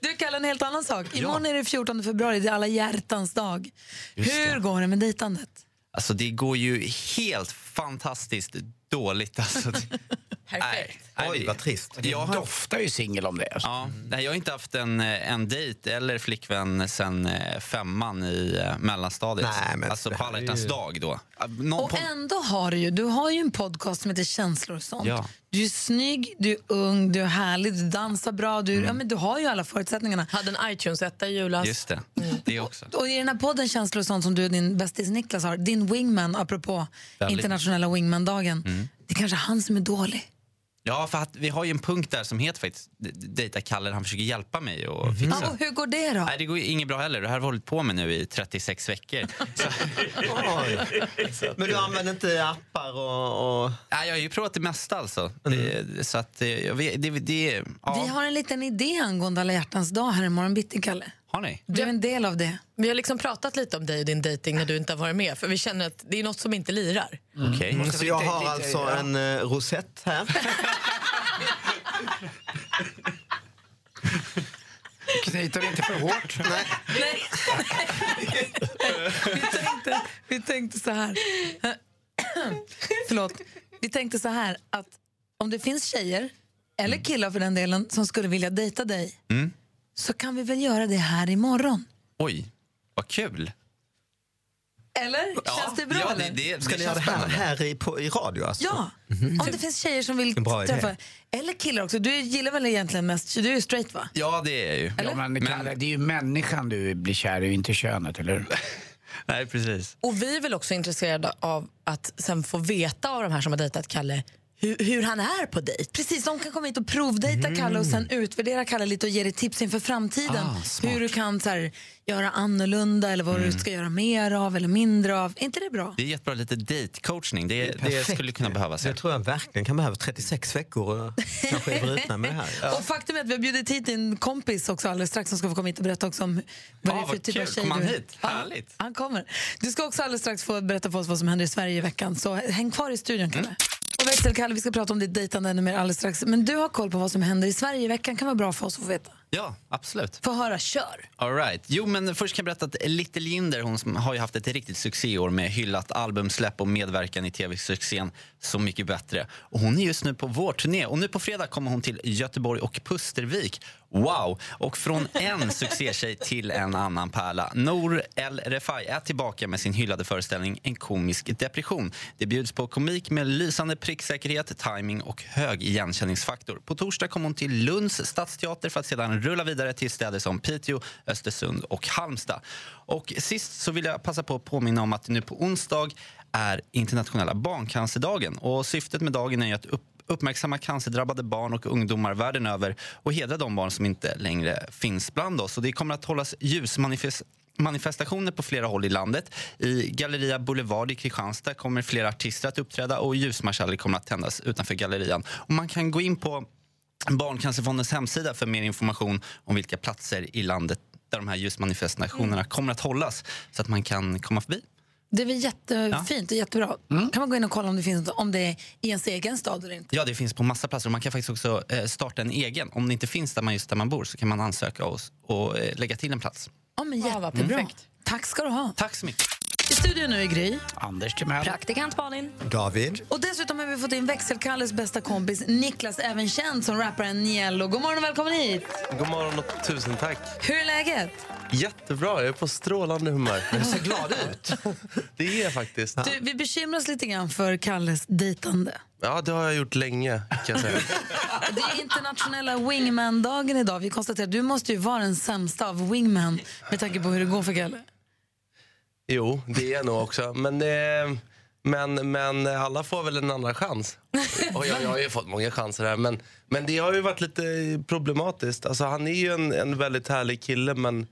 Speaker 5: Du Kalle, en helt annan sak. Imorgon är det 14 februari, det är alla hjärtans dag.
Speaker 8: Just
Speaker 5: Hur går det med dejtandet?
Speaker 8: Alltså, det går ju helt fantastiskt dåligt. Alltså. Perfekt. Oj, vad
Speaker 18: trist.
Speaker 8: Jag har
Speaker 4: doftar ju singel om det.
Speaker 8: Ja, nej, jag har inte haft en, eh, en dejt eller flickvän sen eh, femman i eh, mellanstadiet.
Speaker 18: Nej, men
Speaker 8: alltså
Speaker 18: det
Speaker 8: på
Speaker 18: här
Speaker 8: alla
Speaker 18: är
Speaker 8: hjärtans
Speaker 18: ju-
Speaker 8: dag då. Eh, Någon
Speaker 5: Och ändå har du ju, du har ju en podcast som heter Känslor och sånt.
Speaker 8: Ja.
Speaker 5: Du är snygg, du är ung, du är härlig, du dansar bra,
Speaker 8: Mm.
Speaker 5: du, ja, men du har ju alla förutsättningarna.
Speaker 21: Hade en iTunes-etta i julas.
Speaker 8: Just det,
Speaker 5: Mm.
Speaker 8: det också.
Speaker 5: Och i den här podden Känslor och sånt som du och din bästis Niklas har, din wingman, apropå
Speaker 8: Väldigt.
Speaker 5: internationella wingman-dagen,
Speaker 8: Mm.
Speaker 5: det är kanske är han som är dålig.
Speaker 8: Ja, för att vi har ju en punkt där som heter faktiskt d- d- Dejta Kalle, han försöker hjälpa mig och fixa.
Speaker 5: Ja, och hur går det då?
Speaker 8: Nej, det går ju inget bra heller. Det här har vi hållit på med nu i 36 veckor.
Speaker 18: Men du använder inte appar och... Mm. och...
Speaker 8: Nej, jag har ju provat det mesta alltså. Det, så att eh, jag vet, det, det, ja.
Speaker 5: Vi har en liten idé angående alla hjärtans dag här imorgon bitti, Kalle.
Speaker 8: Har ni?
Speaker 5: Du är en del av det.
Speaker 21: Vi har liksom pratat lite om dig och din dating när du inte har varit med. För vi känner att det är något som inte lirar.
Speaker 8: Okej.
Speaker 18: Mm, så jag har alltså en eh, rosett här.
Speaker 4: Knyter inte för hårt.
Speaker 5: Vi tänkte så här. Förlåt. Vi tänkte så här att om det finns tjejer, eller killar för den delen, som skulle vilja dejta dig
Speaker 8: Mm.
Speaker 5: så kan vi väl göra det här imorgon?
Speaker 8: Oj, vad kul.
Speaker 5: Eller? Känns det bra?
Speaker 8: ja,
Speaker 5: eller?
Speaker 8: det- det-
Speaker 18: Ska
Speaker 8: känns
Speaker 18: ni göra det här,
Speaker 8: spännande. Mm.
Speaker 18: här i, på, i radio? Alltså?
Speaker 5: Ja, om det finns tjejer som vill
Speaker 18: En bra idé.
Speaker 5: träffa. Eller killar också. Du gillar väl egentligen mest, du är ju straight va?
Speaker 8: Ja, det är jag ju.
Speaker 4: Ja, men, Kalle, det är ju människan du blir kär i, inte könet, eller hur?
Speaker 8: Nej, precis.
Speaker 21: Och vi är väl också intresserade av att sen få veta av de här som har dejtat Kalle hur, hur han är på dejt.
Speaker 5: Precis, de kan komma hit och provdejta
Speaker 8: Mm.
Speaker 5: Kalle och sen utvärdera Kalle lite och ge dig tips inför framtiden.
Speaker 21: Ah, smart.
Speaker 5: hur du kan så här, göra annorlunda eller vad
Speaker 8: Mm.
Speaker 5: du ska göra mer av eller mindre av. Är inte det bra?
Speaker 8: Det är jättebra, lite dejtcoachning. Det, det,
Speaker 18: perfekt.
Speaker 8: skulle kunna behövas.
Speaker 18: Det tror jag verkligen kan behövas. 36 veckor och eh, kanske är brutna med det här.
Speaker 5: Och faktum är att vi har bjudit hit din kompis också alldeles strax som ska få komma hit och berätta också om vad det är för
Speaker 8: Ah, vad
Speaker 5: typ av
Speaker 8: kul.
Speaker 5: tjej
Speaker 8: Kom han
Speaker 5: du är.
Speaker 8: hit?
Speaker 5: Ja,
Speaker 8: Härligt.
Speaker 5: Han kommer. Du ska också alldeles strax få berätta för oss vad som händer i Sverige i veckan. Så häng kvar i studion Kalle. Och växel Kalle, vi ska prata om ditt dejtande ännu mer alldeles strax. Men du har koll på vad som händer i Sverige i veckan. kan vara bra för oss att få veta.
Speaker 8: Ja, absolut.
Speaker 5: Få höra, kör!
Speaker 8: All right. Jo, men först kan jag berätta att Little Jinder hon som har ju haft ett riktigt succéår med hyllat albumsläpp och medverkan i tv-succén Så mycket bättre. Och hon är just nu på vår turné och nu på fredag kommer hon till Göteborg och Pustervik. Wow! Och från en succétjej till en annan pärla. Nour El Refai är tillbaka med sin hyllade föreställning En komisk depression. Det bjuds på komik med lysande pricksäkerhet, timing och hög igenkänningsfaktor. På torsdag kommer hon till Lunds stadsteater för att sedan rulla vidare till städer som Piteå, Östersund och Halmstad. Och sist så vill jag passa på att påminna om att nu på onsdag är internationella barncancerdagen. Och syftet med dagen är ju att upp uppmärksamma cancerdrabbade barn och ungdomar världen över och hedra de barn som inte längre finns bland oss. Och det kommer att hållas ljusmanifest manifestationer på flera håll i landet. I Galleria Boulevard i Kristianstad kommer flera artister att uppträda och ljusmarschaller kommer att tändas utanför gallerian. Och man kan gå in på Barncancerfondens hemsida för mer information om vilka platser i landet där de här ljusmanifestationerna
Speaker 4: Mm.
Speaker 8: kommer att hållas så att man kan komma förbi.
Speaker 5: Det är väl jättefint och jättebra.
Speaker 8: Mm.
Speaker 5: Kan man gå in och kolla om det finns om det är i ens egen stad eller inte?
Speaker 8: Ja, det finns på massa platser. Och Man kan faktiskt också eh, starta en egen. Om det inte finns där man, just där man bor så kan man ansöka och, och eh, lägga till en plats.
Speaker 5: Ja, men jättebra.
Speaker 8: perfekt.
Speaker 5: Tack ska du ha.
Speaker 8: Tack så mycket.
Speaker 5: I studion nu är Gry.
Speaker 4: Anders Timell.
Speaker 5: Praktikant Malin.
Speaker 18: David.
Speaker 5: Och dessutom har vi fått in växelkalles bästa kompis Niklas, även känd som rapparen Niello. God morgon och välkommen hit!
Speaker 22: God morgon och tusen tack.
Speaker 5: Hur är läget?
Speaker 22: Jättebra, jag är på strålande humör. Du ser glad ut. Det är jag faktiskt.
Speaker 5: Du, vi bekymrar oss lite grann för Kalles dejtande.
Speaker 22: Ja, det har jag gjort länge kan jag säga.
Speaker 5: Det är internationella wingman-dagen idag. Vi konstaterar att du måste ju vara den sämsta av wingman med tanke på hur det går för Kalle.
Speaker 22: Jo, det är jag nog också. Men, eh, men, men alla får väl en andra chans. Och jag, jag har ju fått många chanser här. Men, men det har ju varit lite problematiskt. Alltså, han är ju en, en väldigt härlig kille men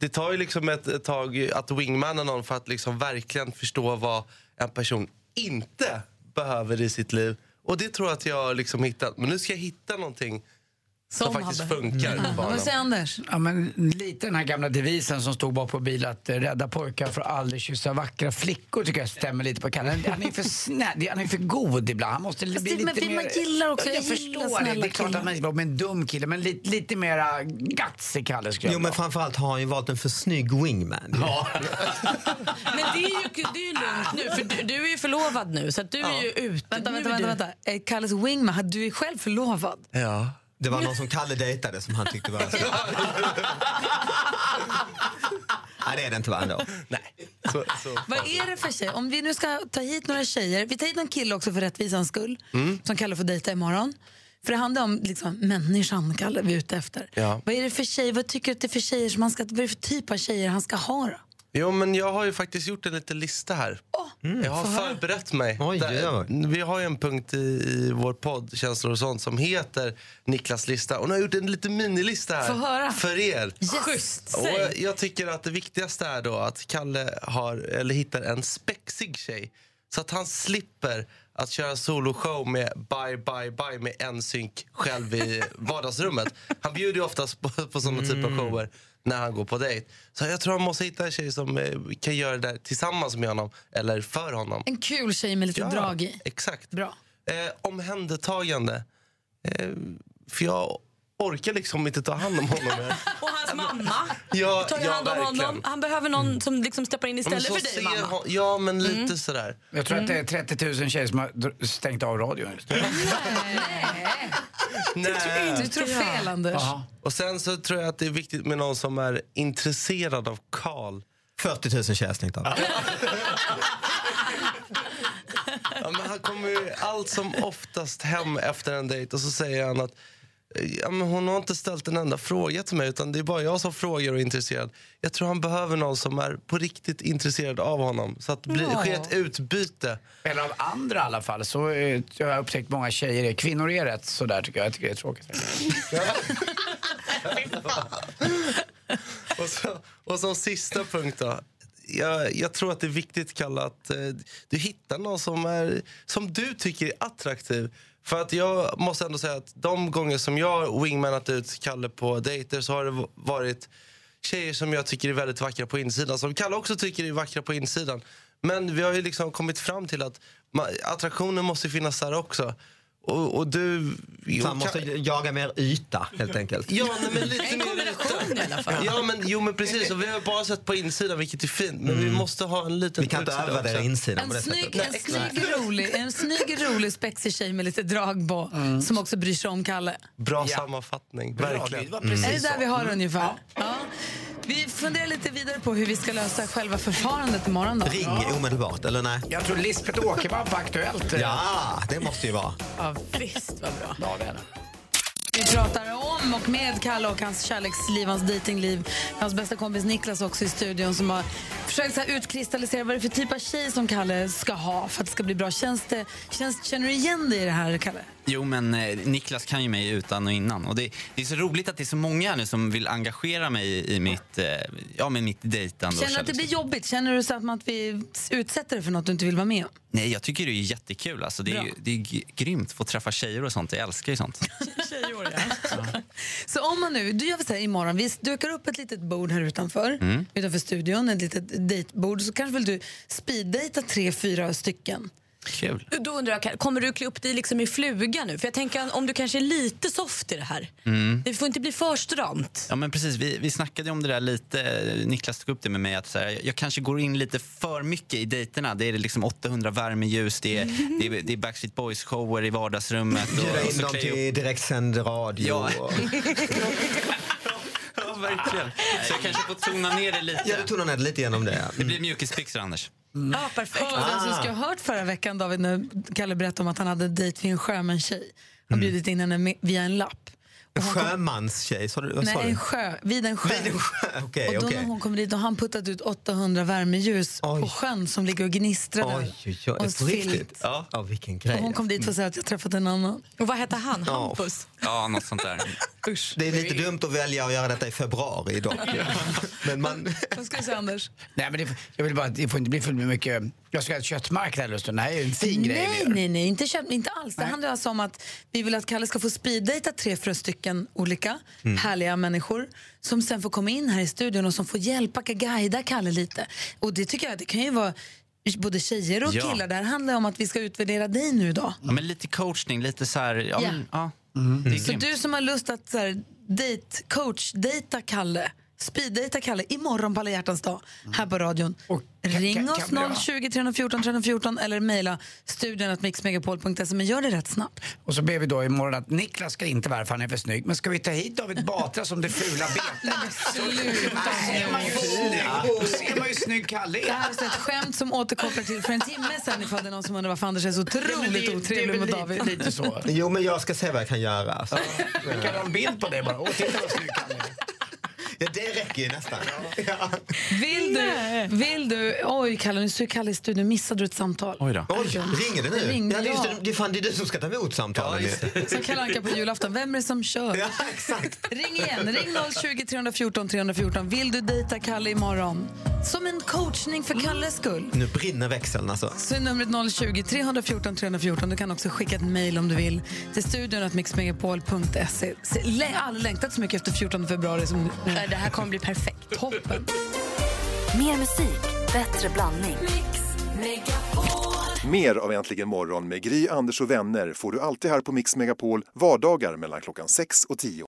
Speaker 22: det tar ju liksom ett, ett tag att wingmanna någon för att liksom verkligen förstå vad en person inte behöver i sitt liv. Och det tror jag att jag har liksom hittat. Men nu ska jag hitta någonting som,
Speaker 5: Som
Speaker 22: faktiskt
Speaker 5: hade. Mm.
Speaker 22: funkar.
Speaker 4: Mm.
Speaker 22: för honom.
Speaker 5: Anders?
Speaker 4: Ja, men lite den här gamla devisen som stod bak på bil att eh, rädda pojkar får aldrig kyssa vackra flickor tycker jag stämmer lite på Kalle. Han är för snäll, han är för god ibland. Han måste bli
Speaker 5: det-
Speaker 4: lite
Speaker 5: typ, men vi-
Speaker 4: mer...
Speaker 5: man gillar också-
Speaker 4: jag,
Speaker 5: jag gillar
Speaker 4: förstår det.
Speaker 5: snälla
Speaker 4: Det är klart att man gillar men en dum kille. Men lite, lite mera guts i Kalle skulle
Speaker 18: Jo, men framförallt har han ju valt en för snygg wingman.
Speaker 21: Mm. Men det är ju, det är ju lugnt nu, för du, du är ju förlovad nu. Så att du är ju ute.
Speaker 5: Vänta,
Speaker 21: Nu
Speaker 5: vänta,
Speaker 21: är
Speaker 5: vänta.
Speaker 21: du-
Speaker 5: vänta. Eh, Kalles wingman, du är själv förlovad.
Speaker 22: Ja.
Speaker 18: Det var någon som Kalle dejtade som han tyckte var... Nej, det är det inte va? Ändå.
Speaker 22: Nej. Så, så.
Speaker 5: Vad är det för tjej? Om vi nu ska ta hit några tjejer. Vi tar hit någon kille också för rättvisans skull.
Speaker 22: Mm.
Speaker 5: Som Kalle får dejta imorgon. För det handlar om liksom, människan Kalle vi är ute efter.
Speaker 22: Ja.
Speaker 5: Vad är det för tjej? Vad tycker du att det är för tjejer som han ska... Vad är det för typ av tjejer han ska ha då?
Speaker 22: Jo, men jag har ju faktiskt gjort en liten lista här. jag har
Speaker 5: får Mm. höra.
Speaker 22: förberett mig.
Speaker 18: Oj,
Speaker 22: Där-
Speaker 18: oj,
Speaker 22: Vi har ju en punkt i, i vår podd, Känslor och sånt, som heter Niklas lista. Och nu har jag gjort en liten minilista här
Speaker 5: Få höra.
Speaker 22: för er.
Speaker 5: Schysst.
Speaker 22: Och jag- jag tycker att det viktigaste är då att Kalle har, eller hittar en spexig tjej. Så att han slipper att köra soloshow med Bye Bye Bye med NSYNC själv i vardagsrummet. Han bjuder ju oftast på, på sådana typer
Speaker 18: Mm.
Speaker 22: av shower när han går på dejt. Så jag tror han måste hitta en tjej som eh, kan göra det där tillsammans med honom eller för honom.
Speaker 5: En kul tjej med lite
Speaker 22: Ja,
Speaker 5: typ drag i.
Speaker 22: Exakt.
Speaker 5: Bra.
Speaker 22: Eh, omhändertagande. Eh, för jag orkar liksom inte ta hand om honom. mer.
Speaker 21: Och hans mamma.
Speaker 22: Ja,
Speaker 21: tar ju
Speaker 22: ja,
Speaker 21: hand om honom.
Speaker 22: verkligen. Mm.
Speaker 21: Han behöver någon som liksom steppar in
Speaker 22: Ja, men
Speaker 21: istället
Speaker 22: så
Speaker 21: för dig,
Speaker 22: ser
Speaker 21: mamma.
Speaker 22: hon- Ja, men
Speaker 5: Mm.
Speaker 22: lite sådär.
Speaker 4: Jag tror att det är 30 000 tjejer som har dr- stängt av radion just nu.
Speaker 22: Nej.
Speaker 5: Du tror fel, Anders.
Speaker 22: Och sen så tror jag att det är viktigt med någon som är intresserad av Karl.
Speaker 18: 40 000 tjejer snyggt av.
Speaker 22: Ja, men han kommer ju allt som oftast hem efter en dejt och så säger han att eh, ja, men hon har inte ställt en enda fråga till mig utan det är bara jag som frågar och är intresserad. Jag tror han behöver någon som är på riktigt intresserad av honom så att det blir-
Speaker 4: Ja.
Speaker 22: sker ett utbyte.
Speaker 4: Eller av andra i alla fall. Så eh, jag har upptäckt många tjejer är. Kvinnor är rätt sådär tycker jag. Jag tycker det är tråkigt.
Speaker 22: Och, så, och som sista punkt då. Jag, jag tror att det är viktigt, Kalle, att eh, du hittar någon som, är, som du tycker är attraktiv. För att jag måste ändå säga att de gånger som jag har wingmanat ut Kalle på dejter så har det v- varit tjejer som jag tycker är väldigt vackra på insidan. Som Kalle också tycker är vackra på insidan. Men vi har ju liksom kommit fram till att ma- attraktionen måste finnas där också. Och, och du...
Speaker 18: Så han måste jaga mer yta, helt enkelt.
Speaker 22: Ja, nej, men lite mer
Speaker 21: i alla fall.
Speaker 22: Ja, men, jo, men precis. Och vi har bara sett på insidan, vilket är fint. Men vi måste ha en liten
Speaker 18: Mm. Vi kan inte
Speaker 22: utsida
Speaker 18: övervärdera
Speaker 22: också.
Speaker 18: insidan
Speaker 5: En snygg, en, snygg, rolig, en snygg, rolig, spexig tjej med lite drag på, som också bryr sig om Kalle.
Speaker 22: Bra sammanfattning. Verkligen.
Speaker 5: Mm. Är det där vi
Speaker 22: Mm.
Speaker 5: har ungefär? Ja. Vi funderar lite vidare på hur vi ska lösa själva förfarandet imorgon. Då.
Speaker 18: Ring omedelbart, eller nej?
Speaker 4: Jag tror Lisbeth Åkerman på Aktuellt. eh,
Speaker 18: Ja, det måste ju vara.
Speaker 21: Ja, visst, vad bra.
Speaker 4: Ja, det är det.
Speaker 5: Vi pratar om om och med Kalle och hans kärleksliv, hans dejtingliv. Hans bästa kompis Niklas också i studion som har försökt så här utkristallisera vad det är för typ av tjej som Kalle ska ha för att det ska bli bra. Känns det, känns, känner du igen dig i det här, Kalle?
Speaker 8: Jo, men eh, Niklas kan ju mig utan och innan. Och det, det är så roligt att det är så många här nu som vill engagera mig i, i mitt, eh, ja, med mitt dejtande. och
Speaker 5: Känner du att det
Speaker 8: kärleks-
Speaker 5: blir jobbigt? Känner du så att, man- att vi utsätter dig för något du inte vill vara med om?
Speaker 8: Nej, jag tycker det är jättekul. Alltså, det, är, ju- det är g- grymt att få träffa tjejer och sånt. Jag älskar ju sånt.
Speaker 5: Så om man nu, du gör vi så här imorgon, vi dukar upp ett litet bord här utanför,
Speaker 8: Mm.
Speaker 5: utanför studion, ett litet dejtbord, så kanske vill du speeddejta tre, fyra stycken.
Speaker 8: Kul.
Speaker 21: Då undrar jag, kommer du klä upp dig liksom i fluga nu? För jag tänker om du kanske är lite soft i det här.
Speaker 8: Mm.
Speaker 21: Det får inte bli för stramt.
Speaker 8: Ja, men precis. Vi, vi snackade om det där lite. Niklas tog upp det med mig. Att så här, jag kanske går in lite för mycket i dejterna. Det är liksom 800 värmeljus, det är, det är, det är Backstreet Boys-shower i vardagsrummet. och-
Speaker 18: Bjuda
Speaker 8: och
Speaker 18: in
Speaker 8: så
Speaker 18: dem
Speaker 8: klär jag
Speaker 18: till direktsänd radio.
Speaker 8: Ja. Ja, verkligen. Så jag kanske får tona ner det lite.
Speaker 18: Ja, du tonar ner det lite genom det. ja.
Speaker 8: Det blir mjukisbyxor, Anders.
Speaker 5: Ja, perfekt. Hörde alltså, du ska
Speaker 18: Ah.
Speaker 5: ha hört förra veckan David när Kalle berättade om att han hade en dejt vid en sjömanstjej.
Speaker 18: Mm.
Speaker 5: Han bjudit in henne med, via en lapp.
Speaker 18: En sjömanstjej, sa du? Vad sa
Speaker 5: Nej,
Speaker 18: du?
Speaker 5: en sjö, vid en sjö.
Speaker 18: Vid en sjö, okej.
Speaker 5: och då
Speaker 18: okej.
Speaker 5: när hon kom dit och han puttat ut 800 värmeljus på sjön som ligger och gnistrar där.
Speaker 18: Oj, oj, oj.
Speaker 5: Och
Speaker 18: På riktigt?
Speaker 5: filt.
Speaker 18: Ja. vilken
Speaker 5: Och
Speaker 18: grej. alltså.
Speaker 5: hon kom dit och sa att jag träffat en annan.
Speaker 21: Och vad hette han?
Speaker 18: Hampus?
Speaker 8: Ja, något sånt där.
Speaker 18: Det är lite dumt att välja att göra detta i februari dock. Men man...
Speaker 5: Vad ska du säga, Anders?
Speaker 4: Nej, men det, jag vill bara, det får inte bli för mycket... Jag ska ha köttmarknad här Lustig. Det här är ju en fin grej vi
Speaker 5: Nej,
Speaker 4: gör.
Speaker 5: nej, nej, inte, köp, inte alls. Det handlar alltså om att vi vill att Kalle ska få speeddejta tre, fyra stycken olika
Speaker 4: Mm.
Speaker 5: härliga människor som sen får komma in här i studion och som får hjälpa, guida Kalle lite. Och det tycker jag, det kan ju vara både tjejer och
Speaker 8: Ja.
Speaker 5: killar. Det här handlar om att vi ska utvärdera dig nu då.
Speaker 8: Ja, men lite coachning, lite så här... Ja,
Speaker 5: Ja.
Speaker 8: men, ja.
Speaker 18: Mm.
Speaker 8: Det
Speaker 4: Mm.
Speaker 8: är
Speaker 5: Så
Speaker 8: grymt.
Speaker 5: du som har lust att så här, date, coach, dejta Kalle, speeddejta Kalle imorgon på alla hjärtans dag här på radion. Ring
Speaker 4: kan-
Speaker 5: oss
Speaker 4: kan bli bra.
Speaker 5: 020 314 314 eller mejla studion att mixmegapol.se men gör det rätt snabbt.
Speaker 4: Och så ber vi då imorgon att Niklas ska inte vara för han är för snygg. Men ska vi ta hit David Batra som det fula betet? Då ser man ju snygg Kalle
Speaker 5: Det här är ett skämt som återkopplar till för en timme sen ifall det är någon som undrar varför Anders är så otroligt otrevlig mot David.
Speaker 18: Jo, men jag ska se vad jag kan göra. alltså. Så.
Speaker 4: Vi kan ha en bild på dig bara. Åh, titta vad snygg Kalle är.
Speaker 18: Ja, det räcker ju nästan. Ja.
Speaker 5: Vill du, vill du, oj Kalle, nu står ju Kalle i studion, missade du ett samtal?
Speaker 18: Oj, ringer det nu?
Speaker 5: Det ringde
Speaker 18: ja, det, är
Speaker 5: jag.
Speaker 18: just, det, är fan, det är du som ska ta emot samtalen. ju.
Speaker 5: Som Kalle Anka på julafton, vem är det som kör? Ja,
Speaker 18: exakt.
Speaker 5: Ring igen, ring 020 314 314. Vill du dejta Kalle imorgon? Som en coachning för Kalles skull.
Speaker 18: Nu brinner växeln alltså.
Speaker 5: Så är numret 020 314 314. Du kan också skicka ett mejl om du vill till studion att mixmegapol.se. Se- lä- Jag har aldrig längtat så mycket efter 14 februari som nu. Det här kommer bli perfekt. Toppen.
Speaker 1: Mer musik, bättre blandning.
Speaker 23: Mer av Äntligen morgon med Gry, Anders och vänner får du alltid här på Mix Megapol vardagar mellan klockan 6 och 10.